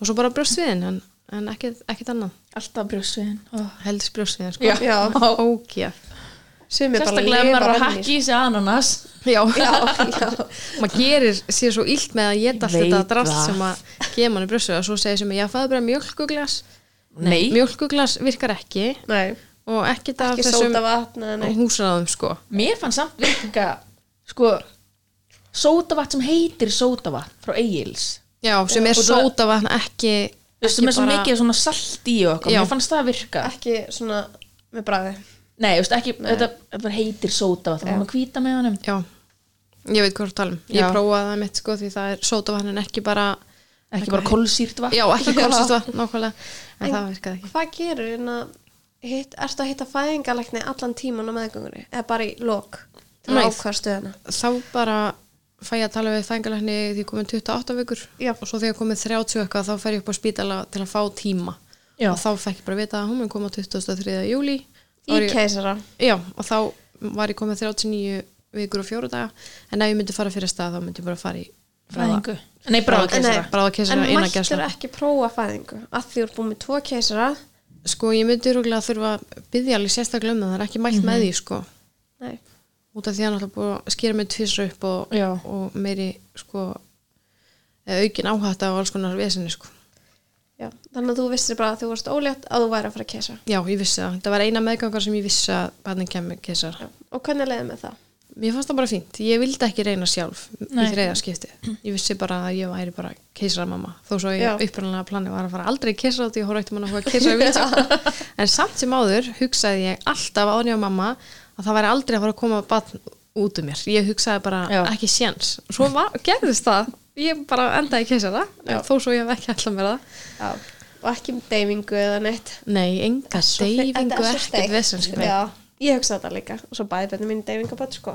S3: og svo bara brjóstsviðin en, en ekkert, ekkert annað
S2: Alltaf brjósviðin
S3: helst brjóstsviðin sko.
S2: Já.
S1: já, *laughs*
S3: ókjaf
S1: sem er bara
S2: Sérstaklega ef maður er að
S1: venjur.
S2: hakki í sig ananas
S3: Já,
S1: *laughs* já, já
S3: maður gerir sér svo illt með að geta allt
S2: Ég
S3: þetta
S2: veit
S3: drast
S2: það.
S3: sem að gefa manni brjóstu og svo segir sem að ég faði bara mjölkuglas
S2: Nei,
S3: mjölkuglas virkar ekki
S1: Nei,
S3: og ekkert af
S1: ekki
S3: þessum
S1: sóta vatn
S3: húsraðum sko
S2: mér fann samt virka sko sótavatt sem heitir sótavatt frá Egil's
S3: já, sem er
S2: Og það-
S3: sótavatn ekki
S2: Þú veist, sem er
S3: ekki
S2: svo
S3: bara-
S2: mikið svona salt í og eitthvað
S3: Já.
S2: Mér fannst það virka
S1: ekki svona með bræði
S2: Nei, þú veist, ekki, þetta þetta bara heitir sótavatt Það var maður hvíta með honum
S3: já, ég veit hvað þú talum
S2: Já.
S3: um. ég prófaði það mitt sko því það er sótavatn en ekki bara
S2: Ekki bara kolsýrt vatn
S3: já, ekki kólsist vatn nákvæmlega en, það virkaði ekki
S1: Hvað gerur en að hitt, ertu að hitta fæðingalækni allan tíman á meðgöngunni eða bara í lok til
S3: Nei.
S1: að ákvæða stöðuna
S3: þá bara fæ ég að tala við fængalækni því ég komið 28 vikur
S1: Já.
S3: og svo þegar ég komið 30 eitthvað þá fer ég upp á spítala til að fá tíma
S2: Já.
S3: og þá fekk ég bara vita að hún mun koma 23. júli Þá var
S1: í
S3: ég-
S1: keisara
S3: Já, og þá var ég komið 39 vikur og fjóru daga en ef ég myndi fara fyrir stað þá myndi ég bara fara í
S2: Fræðingu Nei, bráða
S1: Nei.
S2: keisara
S3: bara að
S1: en
S3: keisara inn að
S1: mættur
S3: gæsla
S1: ekki prófa fæðingu að því þú er búin með tvo keisara
S3: sko ég myndi rúglega að þurfa að byggja alveg sérstaklega um það, það er ekki mælt með því sko
S1: Nei.
S3: út af því að hann alltaf búið að skýra mig tvisra upp og,
S2: Já.
S3: og meiri sko eða aukin áhætta á alls konar vesinni sko.
S1: Já. þannig að þú vissir bara að þú varst ólétt að þú væri að fara að keisara
S3: já, ég vissi það, þetta var eina meðgangar sem ég vissi að barnin kemur kessar
S1: Já. og hvernig leiði með það
S3: mér fannst það bara fínt, ég vildi ekki reyna sjálf
S2: Nei.
S3: í þriða skipti, ég vissi bara að ég væri bara keisaramamma, þó svo
S1: Já.
S3: ég uppræðanlega plani var að fara aldrei keisara því ég horf eitt mann að hvað keisara vídeo *laughs* en samt sem áður hugsaði ég alltaf án ég og mamma að það væri aldrei að fara að koma batn út um mér, ég hugsaði bara
S2: Já.
S3: ekki séns, svo var, gerðist það ég bara endaði keisara
S1: Já.
S3: þó svo ég hef ekki alltaf mér það
S1: Já. og ekki um deyfingu eða neitt
S3: nei, enga
S1: Svo fyrir- þetta er
S3: deyfingu
S1: svo
S3: ekkert sko.
S1: steikt.
S3: vesens
S1: Já, ég hugsa þetta líka og svo bæði bönni mín deyfingabann sko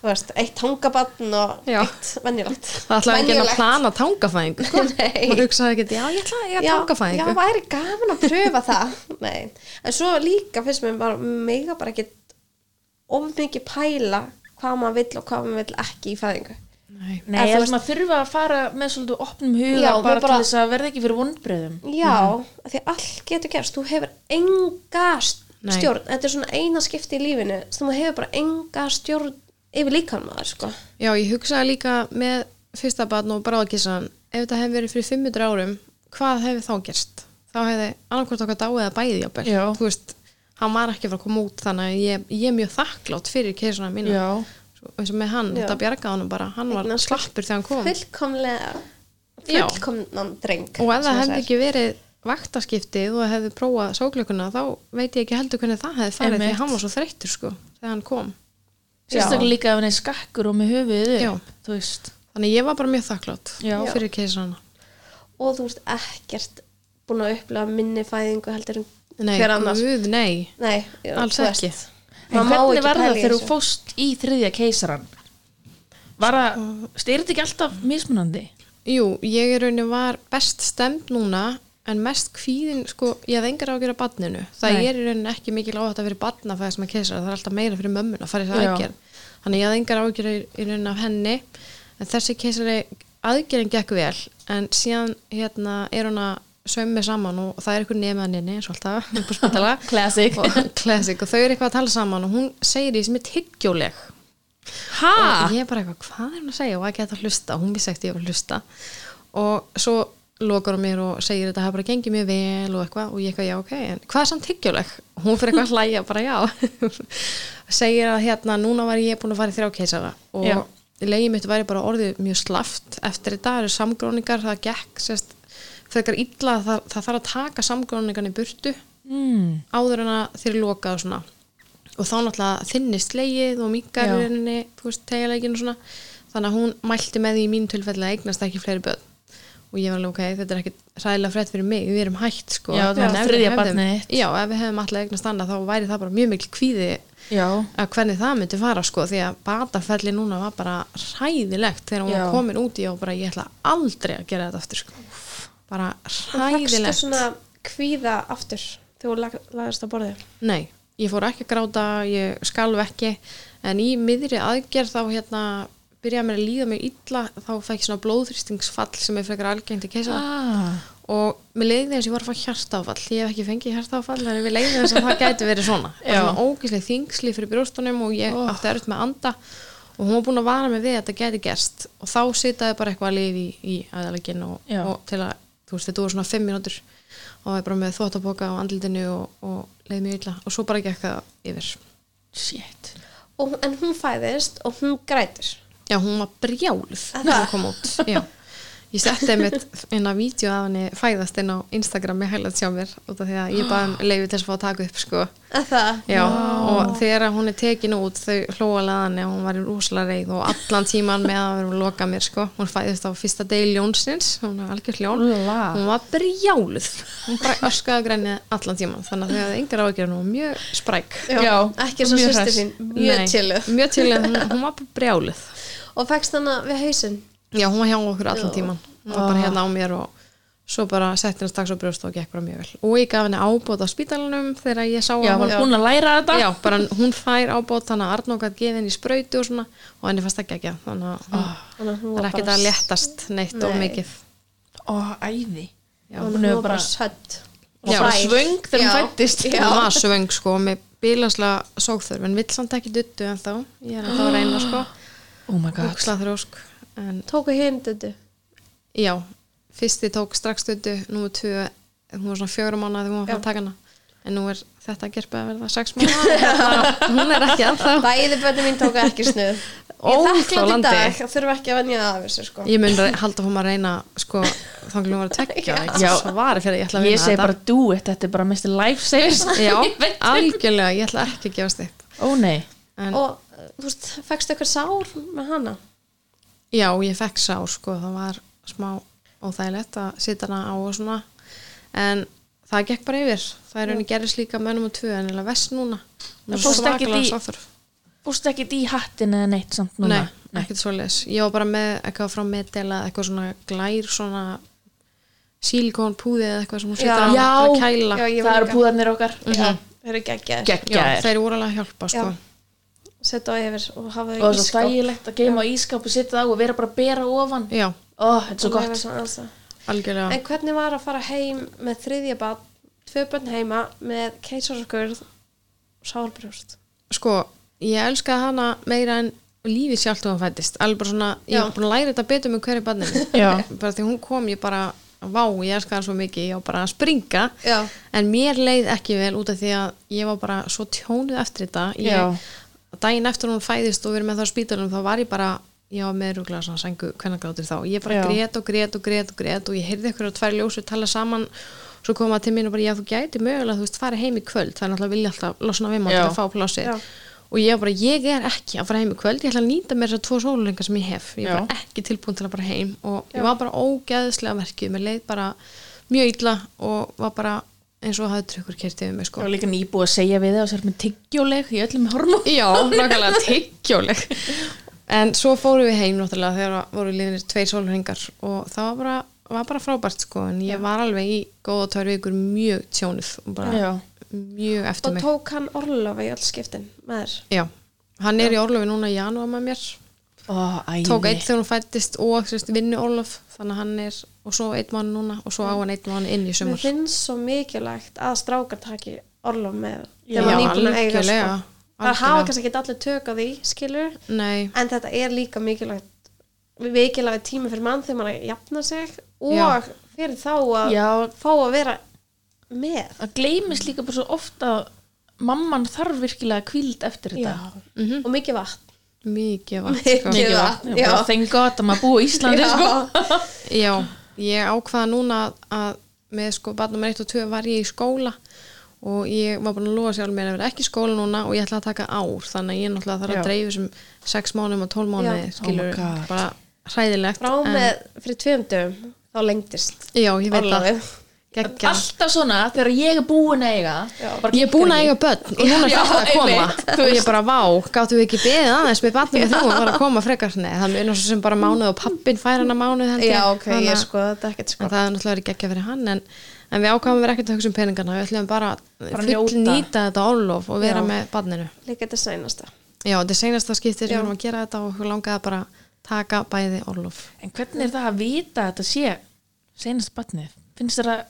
S1: þú veist, eitt hangabann og
S3: Já.
S1: eitt venjulegt
S3: Það ætlaði ekki að
S1: Venjulegt.
S3: plana tangafæðingu *laughs* sko.
S1: Nei.
S3: Maður hugsaði ekki, já ég ætlaði að
S1: já,
S3: tangafæðingu
S1: væri gaman að pröfa það *laughs* Nei. en svo líka finnst mér bara mega bara ekki of mikið pæla hvað maður vill og hvað maður vill ekki í fæðingu
S3: Nei.
S2: Nei,
S1: Eða þú
S2: ég
S1: veist-
S2: veist maður þurfa að fara með svolítið opnum huga
S1: Já,
S2: bara,
S1: maður bara-
S2: til þess að verða ekki fyrir vondbreyðum
S1: já,
S3: Mhm.
S1: af því að allt getur gerst þú hefur enga st-
S3: Nei.
S1: stjórn þetta er svona eina skipti í lífinu sem þú hefur bara enga stjórn yfir líkan maður sko.
S3: Já, ég hugsaði líka með fyrsta barn og bráðkissan ef þetta hefði verið fyrir 500 árum hvað hefði þá gerst? Þá hefði annarkvort okkar dáið að bæði jábel
S2: Já.
S3: Þú veist, hann var ekki að fara að koma út þannig að ég, ég er mjög þakklátt fyrir keisuna mína
S2: Já,
S3: Svo- eins og með hann,
S1: Já.
S3: þetta bjargaði hann bara hann var
S1: Eignast
S3: slappur þegar hann kom
S1: fullkomlega
S3: Mm. Já.
S1: fullkomnan dreng
S3: og ef
S1: sem
S3: það
S1: þú
S3: hefði
S1: sagðir.
S3: ekki verið vaktaskiptið og hefði prófað sóklökunna þá veit ég ekki heldur hvernig það hefði farið því
S2: Einmitt.
S3: hann var svo þreyttur sko þegar hann kom
S2: sérstaklega líka ef hann er skakkur og með höfuðið upp,
S3: Já.
S2: Þú veist
S3: Þannig að ég var bara mjög þakklátt
S2: Já.
S3: fyrir keisarana.
S1: og þú ert ekkert búin að upplega minni fæðingu heldur en
S3: Nei,
S1: hver annars
S3: guð, nei,
S1: Nei, já,
S3: alls
S1: þú
S3: ekki.
S1: veist, maður
S2: En
S1: má
S2: hvernig
S1: ekki
S2: var það
S1: pæla í
S2: þegar þú
S1: þessu.
S2: fóst í þriðja keisaran? Var það, styrir þetta ekki alltaf mismunandi?
S3: Jú, ég er raunin var best stemd núna en mest kvíðin, sko, ég hef engar á að gera badninu, það
S2: Nei.
S3: er í rauninni ekki mikil áhætt að fyrir badna fæða sem að keisara, það er alltaf meira fyrir mömmun að fara í
S2: Já.
S3: það aðgerð þannig ég hef engar á að gera í, í rauninni af henni en þessi keisari aðgerðin gekk vel, en síðan hérna er hún að sömmi saman og það er eitthvað nefnaninni, eins og alltaf upp á spítala
S2: *laughs* Classic.
S3: og, *laughs* classic, og þau eru eitthvað að tala saman og hún segir því sem er tyggjóleg
S2: Ha?
S3: og ég er bara eitthvað, hvað er hún að segja og ekki að það hlusta, hún vissi ekkert ég var að hlusta og svo lokar hún mér og segir þetta hafa bara gengið mjög vel og eitthvað og ég eitthvað, já ok, en hvað er samt hyggjuleg? Hún fyrir eitthvað að hlæja, bara já *laughs* segir að hérna, núna var ég búin að fara í þrjá keisara og
S2: Já.
S3: legið mitt væri bara orðið mjög slaft eftir þetta eru samgróningar, það gekk sérst, frekar illa, það, það þarf að taka samgróningan í burtu
S2: Mm.
S3: áður en að þeir loka og svona og þá náttúrulega þinnist legið og mingar
S2: Já.
S3: henni, þú veist, tegjalegin og svona þannig að hún mælti með því í mínu tilfelli að eignast ekki fleiri börn og ég var alveg ok, þetta er ekki ræðilega frétt fyrir mig við erum hægt sko
S2: Já, þú ert
S3: En ef við
S2: þriðja
S3: hefðum-
S2: barnið þitt.
S3: já, ef við hefum alltaf eignast annað þá væri það bara mjög mikil kvíði
S2: Já.
S3: að hvernig það myndi fara sko því að bataferli núna var bara hræðilegt þegar hún
S2: Já.
S3: var komin út í og bara ég ætla aldrei að gera þetta aftur sko bara
S1: Fækstu
S3: hræðilegt
S1: svona kvíða aftur þegar þú lag- lagðist á borðið
S3: Nei, ég fór ekki að gráta, ég skalf ekki en í miðri aðgerð þá hérna byrjaði mér að líða mér illa þá fæk ég svona blóðþrýstingsfall sem er frekar algengt í keisa
S2: Ah.
S3: og mér leiði eins og ég var að fá hjartáfall ég hef ekki fengið hjartáfall en mér leiði eins og það gæti verið
S2: *laughs*
S3: svona
S2: Já.
S3: bara svona ógíslega þingsli fyrir brjóstunum og ég
S2: Oh.
S3: átti erut með að anda og hún var búin að vara mig við að þetta gæti gerst og þá sitaði bara eitthvað að lifi í, í aðalegin og,
S2: Já.
S3: og til að þú veist þetta voru svona fimm mínútur og ég bara með þvóttaboka á andlitinu og, og leiði mjög illa og svo bara gekk það yfir
S2: Shit.
S1: og, en hún fæðist og hún grætur
S3: Já, hún var brjáluð
S1: Er
S3: þegar
S1: það?
S3: hún kom út. Já. Ég setti einmitt inn á vídeo að henni fæðast inn á Instagram með hæglaðt sjá mér út af því að ég baði um leiði til þess að fá að taka upp sko.
S1: að það
S3: Já, og þegar hún er tekin út þau hlóalega henni og hún var í rosalega reið og allan tíman með að vera að loka mér sko. Hún fæðist á fyrsta degi ljónsins, hún var algjör ljón.
S2: Úlala.
S3: Hún var brjáluð. Hún bara öskaði grænið allan tíman þannig að þau hafði yngra ágjörn og mjög spræk.
S2: Já,
S1: ekki svo
S2: mjög
S1: sýstir
S2: hress.
S1: sín mjög
S3: Nei,
S1: chillu
S3: Mjög chilluð, hún, hún var bara brjáluð.
S1: og fækst hana við hausinn
S3: Já, hún var hjá okkur allan
S1: Já.
S3: tíman hún var bara hérna á mér og svo bara setti henni strax á brjóst og gekk bara mjög vel og ég gaf henni ábót á spítalunum þegar ég sá
S2: Já,
S3: að
S2: var búin að læra þetta?
S3: já, bara hún fær ábót þannig að Arnók að gefa henni í sprautu og svona og henni fannst ekki ekki þannig að hún,
S1: Þannig að hún
S3: það
S1: var
S3: er ekkert
S1: bara-
S3: að léttast neitt og
S1: Nei.
S3: mikið
S2: Ó, æði.
S3: Já.
S1: hún
S2: Hún
S1: var
S2: hefur
S1: bara
S2: bara
S1: sött
S2: Og bara svöng þegar hún
S1: Já.
S2: fættist.
S1: Já.
S3: hún var svöng sko með bílanslega sókþörf en vill samt ekki duttu en þá ég er ennþá að reyna sko
S2: Oh my god.
S3: hugslað þrjósk en
S1: tóku hinn dödu
S3: já, fyrsti tók strax duttu númer tvö, hún var svona fjóra mánuð þegar hún var að fara að taka hana en nú er þetta gerpa að verða sex mánuð *laughs* hún er ekki ennþá
S1: bæði bönni mín tóku ekki snuð ég
S3: Óþolandi.
S1: þakklátt í dag að þurfa ekki að vennja af þessu sko
S3: ég mun re- halda hún að reyna sko, þannig að hún var að tekja
S2: Já.
S3: svo var fyrir að ég ætla að
S2: Ég
S3: vinna
S2: segi
S3: þetta
S2: bara do it, þetta er bara mest lifesavers. *laughs* Ég
S3: já,
S2: veit.
S3: algjörlega, ég ætla ekki að gefast upp
S2: Ó nei.
S3: en
S1: og uh, þú veist, fækstu eitthvað sár með hana
S3: já, ég fekk sá sko, það var smá óþægilegt að sita hana á og svona en það gekk bara yfir það er henni gerist líka mönnum og tvö en eða vest núna Hún er
S2: En fórstu ekkert í-
S3: svakalega sáþörf.
S2: Búst ekki í hattin eða neitt samt núna?
S3: Nei, ekkert svoleiðis. Ég var bara með eitthvað frá Medela, eitthvað svona glær, svona sílikón púði eða eitthvað sem hún setur á
S1: Já.
S3: til að kæla.
S1: Já, ég var
S2: það eru
S1: líka.
S2: búðarnir okkar.
S1: Já, þeir eru geggjaðir
S3: Já,
S2: Geggjaðir.
S3: þeir voru alveg að hjálpa, sko.
S1: Já. setja á yfir og hafa
S2: og það
S1: þau
S2: er
S1: í
S2: svo þægilegt að geima á ískap og setja það á og vera bara að bera ofan
S3: Já,
S2: ó, þetta er
S1: Og
S2: svo
S1: leyfa
S2: gott
S1: svona aðeins að-
S3: algjörlega.
S1: en hvernig var að fara heim með þriðja bad tvö bönn heima með keisaraskurð sárbrjóst
S3: Sko, ég elskaði hana meira en lífið sjálft og hún fættist. Alveg bara svona, ég
S1: Já.
S3: var búin að læra þetta betur með hverju barninu.
S2: *laughs* Já.
S3: bara því hún kom, ég bara, vá, ég elskaði hana svo mikið, ég var bara að springa.
S1: Já.
S3: En mér leið ekki vel út af því að ég var bara svo tjónuð eftir þetta. Ég,
S2: Já.
S3: daginn eftir hún fæðist og verið með það á spítalunum þá var ég bara, ég var með rúglega svona sengu kvennagrátur þá, ég bara
S2: Já.
S3: grét og grét og grét og grét og ég heyrði ykkur á tvær ljósu tala saman, svo koma til mín og bara já þú gæti mögulega, þú veist, fara heim í kvöld það er náttúrulega vilja alltaf losna við mann til
S2: Já.
S3: að fá plássið
S1: Já.
S3: og ég var bara, ég er ekki að fara heim í kvöld ég ætla að nýta mér þessar tvo sólulengar sem ég hef ég
S2: Já.
S3: er bara ekki tilbúin til að fara heim og ég var bara ógeðslega verkið, mér leið bara mjög illa og var bara eins og hafði trukkur kertið við mig sko
S2: og líka nýbúið að segja við það og sér með tyggjóleg í öllum hormón
S3: Já, nákvæmlega tyggjóleg En svo fórum við heim náttúrulega þegar voru liðinir tveir sólhringar og það var bara var bara frábært sko en ég var alveg í góða törfi ykkur mjög tjónuð og bara
S2: Já.
S3: mjög eftir
S1: og
S3: mig
S1: tók hann orlofa í öll skiptin með þér
S3: Já, hann er í orlofi núna í janúar með mér
S2: Ó, æði.
S3: tók eitt þegar hún fættist og sérst, vinnu orlof þannig að hann er og svo eitt mann núna og svo á hann eitt mann inn í
S1: mér
S3: sumar
S1: finnst svo mikilvægt að strákar taki orlof með
S2: Já,
S1: þegar maður nýbúin að eiga
S3: algjörlega,
S1: sko. það hafa
S3: algjörlega.
S1: kannski ekki allir tök á því skilur,
S3: Nei,
S1: en þetta er líka mikilvægt mikilvægt tími fyrir mann þegar maður er að jafna sig og
S3: Já.
S1: fyrir þá að
S2: Já,
S1: fá að vera með
S2: það gleymist líka bara svo oft að mamman þarf virkilega kvíld eftir þetta
S1: og mikið vatn
S3: mhm, mikið vatn sko.
S1: Mikið vatn, já.
S2: bara þengi gott að maður búi í Íslandi
S1: Já.
S2: sko.
S3: Já, ég ákvaða núna að með sko barnum 1 og 2 var ég í skóla og ég var búin að lofa sér alveg mér að vera ekki í skóla núna og ég ætla að taka ár þannig að ég náttúrulega þarf
S2: Já.
S3: að dreifu sem 6 mánum og 12
S1: Já.
S3: mánu
S1: Oh
S3: skilur
S2: my God.
S3: bara hræðilegt
S1: frá
S3: en-
S1: með fyrir tveim dögum þá lengdist
S3: Já, ég veit það
S1: orlofið
S3: Geggjað.
S2: alltaf svona þegar ég er búin að eiga bara
S3: Ég er búin að eiga börn og hún er
S2: Já,
S3: fætt að koma
S2: einmitt, þú
S3: og ég bara vá, gáttu við ekki beðið aðeins með barnum með þú og var að koma frekar Nei, það er náttúrulega sem bara mánuð og pappin fær hana mánuð held ég.
S1: já ok,
S3: Þannig
S1: ég
S3: að-
S1: sko þetta er ekkert
S3: en
S1: sko
S3: það er náttúrulega verið geggja fyrir hann en, en við ákvæmum verið ekkert að hugsa um peningana við ætlum bara,
S2: Bara
S3: bara
S2: njóta.
S3: full nýta þetta orlof og vera
S2: Já.
S3: með barninu
S1: líka þetta sænasta
S3: já, þetta er seinasta skiptir
S1: Já.
S3: sem við erum að gera þetta og okkur langaði bara að taka bæði orlof
S2: en hvernig er það að vita að þetta sé senast batnið finnst þér að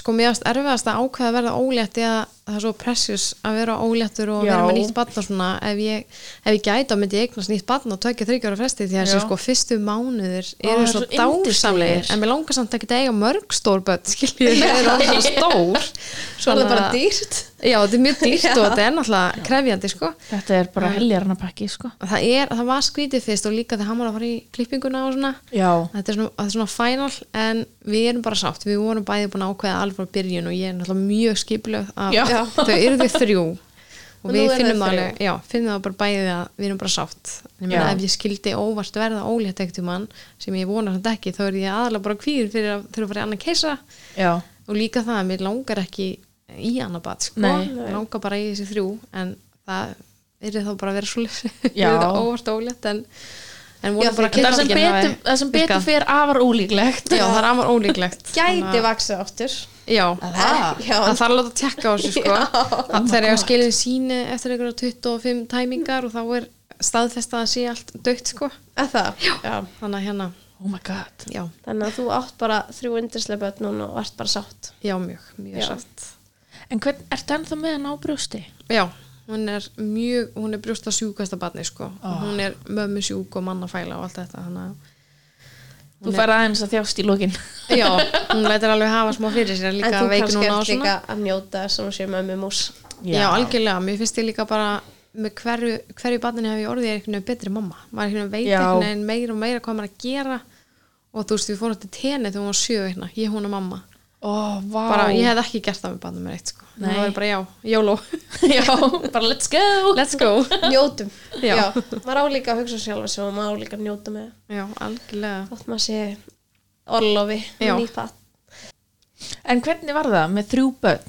S3: sko mér erst erfiðast að ákveða að verða ólétt eða það er svo precious að vera óléttur og
S2: Já.
S3: vera með nýtt barn og svona ef ég, ef ég gæta myndi ég eignast nýtt barn og tökja þryggjóra fresti því að
S2: Já.
S3: þessi sko fyrstu mánuður
S2: það
S3: eru
S2: er svo
S3: svo dásamlegir
S2: yndislegir.
S3: en mér langar samt ekki að eiga mörg stór börn skiljið, það eru orðin svo stór
S1: svo er
S3: Þannig
S1: það bara
S3: að-
S1: dýrt
S3: Já, þetta er mjög dýrt og þetta er náttúrulega krefjandi, sko.
S2: þetta er bara heljarnapakki sko.
S3: Það, er, það var skrítið fyrst og líka þegar hann var að fara í klippinguna og svona.
S2: já,
S3: Þetta er svona, þetta er svona final en við erum bara sátt. Við vorum bæði búin að ákveða alveg frá byrjun og ég er náttúrulega mjög skipluð að
S2: Já.
S3: þau eru þau þrjú. Og,
S1: Og nú
S3: við
S1: eru þau
S3: finnum
S1: þrjú.
S3: það alveg, já, finnum það bara bæði að við erum bara sátt. En Ég meina,
S2: Já.
S3: ef ég skildi óvart verða ólétt ekkert um hann, sem ég vonar þetta ekki, þá er ég aðalega bara kvíður fyrir að þurfa að fara í annan keisa
S2: já,
S3: og líka það að mér langar ekki í annað bad sko,
S2: Nei.
S3: Mig langar bara í þessi þrjú en það yrði þá bara að vera svo *laughs*
S2: Já.
S3: þetta óvart ólétt en, en
S1: Já,
S3: voru bara
S1: það-
S2: það sem
S3: kynntækin hafi
S2: betur, það sem betur
S3: virkað.
S2: fer afar ólíklegt
S3: já, það er afar ólíklegt Þannig
S1: gæti
S3: að-
S1: vaksið áttur
S3: já,
S2: Ah.
S1: já,
S3: það þarf að láta að tekka á þessu
S1: *laughs*
S3: sko það þegar ég að skilja síni eftir einhverja 25 tæmingar og þá er staðfest að það sé allt dögt sko
S1: að það já.
S3: þannig að hérna,
S2: oh my god
S3: já,
S1: þannig að þú átt bara þrjú yndislega börn núna og ert bara sátt
S3: já mjög, mjög
S1: Já.
S3: sátt
S2: en hvern, ertu ennþá með hann á brjósti?
S3: Já, hún er mjög, hún er brjósta sjúkasta barni sko
S2: Ah.
S3: og hún er mömmu sjúk og mannafæla og allt þetta þannig að
S2: þú færði aðeins að þjást í lókin
S3: Já, hún lætur alveg hafa smá fyrir sér
S1: en
S3: líka
S1: þú
S3: veik
S1: kannski
S3: núna og
S1: ert
S3: svona
S1: líka að njóta þess að hún sé mömmu mús
S3: já. algjörlega, mér finnst ég líka bara með hverju, hverju barninu hef ég orðið er einhvern veginn betri mamma, maður einhvern veginn veit
S2: Já.
S3: einhvern veginn meira og meira hvað maður er að gera og þú veist, við fórum til tenni þegar hún var sjö hérna, ég hún og mamma
S2: oh, wow.
S3: bara, ég hef ekki gert það með barnum með eitt sko
S2: Nei.
S3: það var ég bara já, jóló,
S2: *laughs* já, bara let's go
S3: let's go
S1: njótum,
S3: *laughs* Já.
S1: maður á líka að hugsa sjálfa sem og maður á líka að njóta með
S3: *laughs* Já, algjörlega
S1: þótt maður sé orlofi
S3: Já.
S1: nýpatt
S2: En hvernig var það með þrjú börn?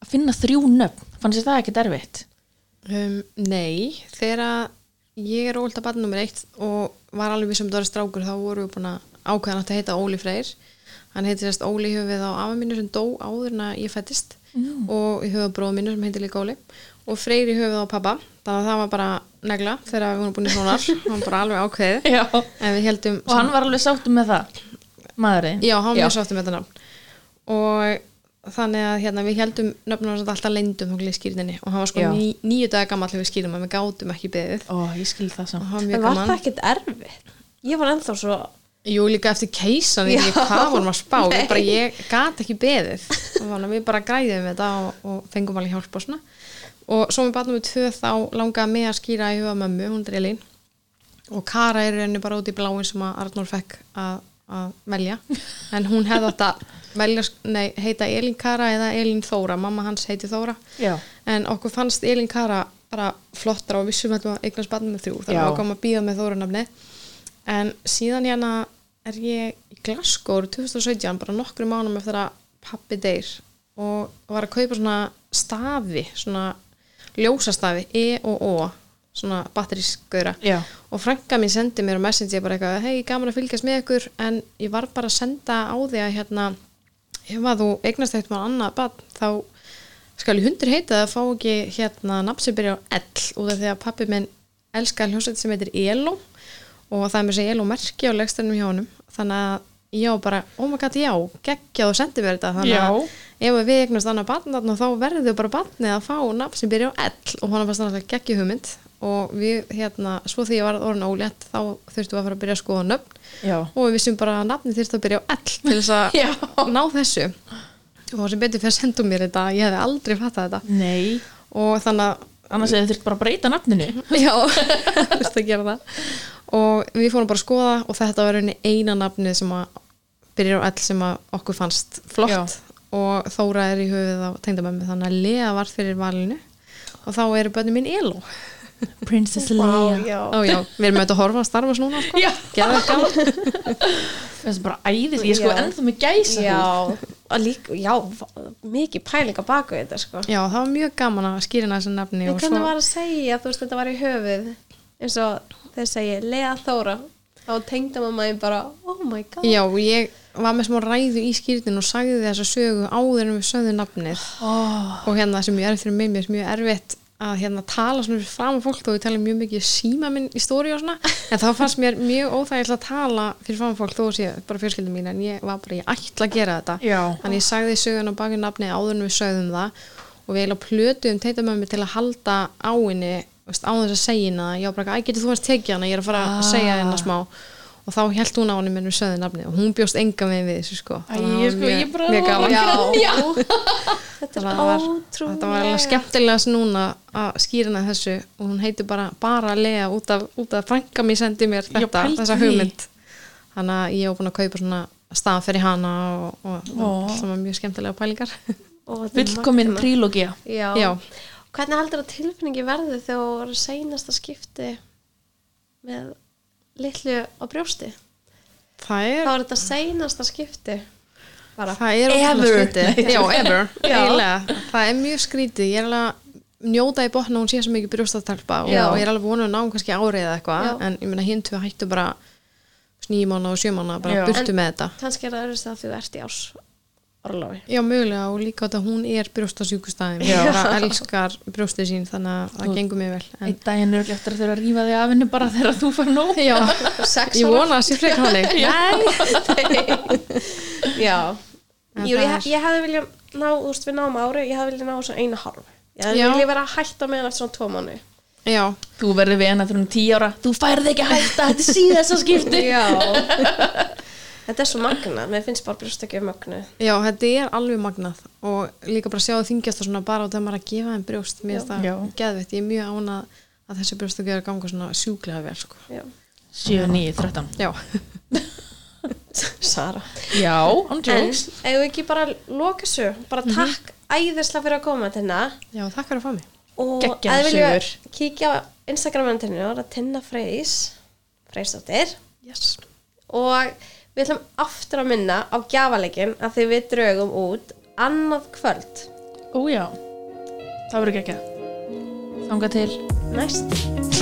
S2: Að finna þrjú nöfn, fannst þér það ekki derfitt?
S3: Um, nei, þegar að ég er ólta barn nummer eitt og var alveg um vissum dörr strákur þá vorum við búin að ákveða hann átti að heita Óli Freyr hann heitir sérst Óli í höfuð á afa mínu sem dó áður en að ég fættist
S2: Mm.
S3: og í höfuð bróða mínu sem heitir líka Óli og Freyr í höfuð á pappa þannig að það var bara negla þegar við vorum búin í
S2: *laughs*
S3: svona hann bara alveg ákveðið
S2: Já.
S3: en við heldum
S2: Og hann var alveg sáttum með það, maðurinn?
S3: Já, hann var mjög sáttum með þetta nafn og þannig að hérna, við heldum nöfnum hans alltaf leindum hún í skýrninni og hann var sko
S2: Já.
S3: ní, níu daga gammal þegar við skýrum að við gátum ekki beðið
S2: Ó, ég skil það
S3: og
S2: saman.
S3: hann var
S1: en
S3: mjög
S1: var
S3: gaman
S1: það ekkert erfitt ég var ennþá svo
S3: Jú, líka eftir keisan, ég veit ekki hvað vorum að spá
S1: Nei.
S3: ég, bara, ég gat ekki beðið og þannig að við bara græðum þetta og, og fengum alveg hjálp og svona og svo með barnum við tvö þá langaði mig að skýra í huga mömmu, hún er Elín og Kara er í rauninni bara út í bláin sem að Arnór fekk að, að velja en hún hefði átt að velja, nei, heita Elín Kara eða Elín Þóra, mamma hans heiti Þóra
S2: Já.
S3: en okkur fannst Elín Kara bara flottra og vissum að maður eignast barnum með þrjú þannig
S2: Já.
S3: að okkur að býða með Þóra nafni en síðan hérna er ég í Glasgow árið 2017 bara nokkru mánum eftir að pappi deyr og var að kaupa svona stafi svona ljósastafi E og O svona batterískauðra
S2: Já.
S3: og frænka mín sendi mér á messenger bara eitthvað, hei, gaman að fylgjast með ykkur en ég var bara að senda á því að hérna, ef að þú eignast eitt mann annað bann, þá skal ég hundur heita að fá ekki hérna nafn sem byrja á L, út af því að pappi minn elskar hljóset sem heitir Elo og það er mér sem Elo merki á legstænum hjá honum, þannig að já, bara, oh my god, já, geggjað og sendi mér þetta, þannig að
S2: Já.
S3: ef að við eignast annað barn þá verður bara barnið að fá nafn sem byrja á L og hann var stannast að geggi hugmynd og við hérna, svo því ég var orðin ólétt þá þurftum við að fara að byrja að skoða nöfn
S2: Já.
S3: og við vissum bara að nafnið þurfti að byrja á L til þess
S2: *laughs* Já.
S3: að ná þessu og sem betur fyrir að senda mér þetta ég hefði aldrei fattað þetta
S2: Nei,
S3: og þannig að
S2: annars hefði þurft bara að breyta nafninu.
S3: Já, *laughs* þurfti að gera það og við fórum bara að skoða og þetta var einu eina nafnið sem að byrjar á all sem að okkur fannst flott og Þóra er í höfuð á tengdamömmu þannig að Lea var fyrir valinu og þá eru bönni mín Elo
S2: Princess
S1: Vá,
S2: Leia.
S1: já.
S3: Ó já, við erum auðvitað að horfa að starfa svona sko.
S2: Já.
S3: Geðveikt gaman.
S2: Það er bara æðis, ég er sko
S1: Já.
S2: ennþá með gæsa.
S1: Já, að líka, já, f- mikið pælinga baku þetta sko.
S3: já, það var mjög gaman að skýrina þessu nafni
S1: En
S3: og
S1: hvernig var að segja, þú veist, þetta var í höfuð eins og þeir segja Lea Þóra, þá tengda mamma ég bara, oh my god *laughs*
S3: Já, ég var með smá ræðu í skýrinu og sagði þessa sögu áður en við sögðu nafnið
S2: Oh.
S3: og hérna sem ég er fyrir mig, mér er mjög erfitt að hérna tala svona fyrir fram á fólk þó ég tala mjög mikið í síma minn í stóri og svona en þá fannst mér mjög óþægilega að tala fyrir fram á fólk þó sé bara fjölskyldum mín en ég var bara, ég ætla að gera þetta
S2: Já.
S3: en ég sagði sögun á baki nafni áður en við sögðum það og við eiginlega plötuðum teitamömmu til að halda á henni þú veist, á þess að segja henni það. ég var bara, að getur þú hans tekið hana, ég er að fara
S2: Ah.
S3: að segja henni smá og þá held hún á henni mennum sögðu nafni og hún bjóst enga með við þessu sko
S2: Æ,
S3: Þannig að það
S2: ég
S3: var
S2: sko,
S3: mjög-
S2: ég bara
S3: mjög
S2: var að
S3: gaman. Já.
S2: grenja.
S1: Þetta er
S3: Þannig að það var,
S1: ótrúlega
S3: þetta var alveg skemmtilegast núna að skýra hana þessu og hún heitir bara bara Lea út af, út af frænka mér sendi mér
S2: Já,
S3: þetta,
S2: pældu
S3: þessa
S2: því.
S3: hugmynd þannig að ég hef búin að kaupa svona stað fyrir hana og, og
S2: Ó.
S3: það var mjög skemmtilega pælingar
S1: Og þetta er
S2: Vilkomin
S1: magnað.
S2: trílógia.
S1: já.
S3: Já.
S1: Hvernig heldur að tilfinningi verði þegar þú voru seinasta skipti með litlu á brjósti?
S3: það
S1: Þá
S3: er,
S1: er þetta seinasta skipti bara.
S3: það er ótrúlega
S1: *laughs*
S2: Ever.
S3: skrítið já, ever,
S1: Já.
S3: eiginlega það er mjög skrítið, ég er alveg að njóta í botna, hún sé svo mikið brjóstatalpa og
S1: Já.
S3: ég er alveg vonið að ná kannski árið eða eitthvað,
S1: Já.
S3: en ég meina hinn tvö hættu bara nýjumána og sjömána, bara
S2: Já.
S3: burtu
S1: En-
S3: með þetta
S1: Kannski er það öðru að þú ert í ás orlofi.
S3: Já, mögulega og líka þetta hún er brjóstasjúkustæðin
S2: Já.
S3: og bara elskar brjóstið sín þannig að það
S2: Þú-
S3: gengur mjög vel en,
S2: Einn daginn er örugglega eftir að þurfa að rífa þig af henni bara þegar þú fær nóg.
S3: Já,
S1: Sex
S3: ég vona að sé frekar *laughs* hannig
S1: *laughs* Já
S3: En
S1: Jú,
S3: það
S1: ég,
S3: er-
S1: ég hefði viljað ná, þú veist við náum ári ég hefði viljað ná svona einu hálf ég hefði
S3: Já.
S1: viljað vera að hætta með hann eftir svona tvo mánu
S3: Já,
S2: *laughs* Þú verður við hennar þegar hún er tíu ára. Þú færði ekki að hætta, þetta er síðast að skipti.
S1: Já *laughs* Þetta er svo magna, mér finnst bara brjóstökju magnu
S3: já, þetta er alveg magnað og líka bara sjá það þingjast og svona bara og það maður að gefa þeim brjóst mér finnst
S2: Já.
S3: það geðveitt, ég er mjög ánað að þessi brjóst að ganga svona sjúklega vel sko.
S1: Já.
S2: 7, 9, 13.
S3: Já,
S1: Sara
S2: Já, on
S1: En
S2: jokes.
S1: eigum við ekki bara að loka svo bara
S3: Mhm.
S1: takk æðislega fyrir að koma til hérna
S3: já, takk fyrir að fá mig
S1: og
S2: Geggjaðar
S1: ef þið viljið
S2: sögur.
S1: kíkja á Instagram-vendinu og það er Tinna Freys Freysdóttir
S3: yes.
S1: og við ætlum aftur að minna á gjafaleikin að því við draugum út annað kvöld
S2: Ó já, það verður ekki ekki. Þanga til.
S1: næst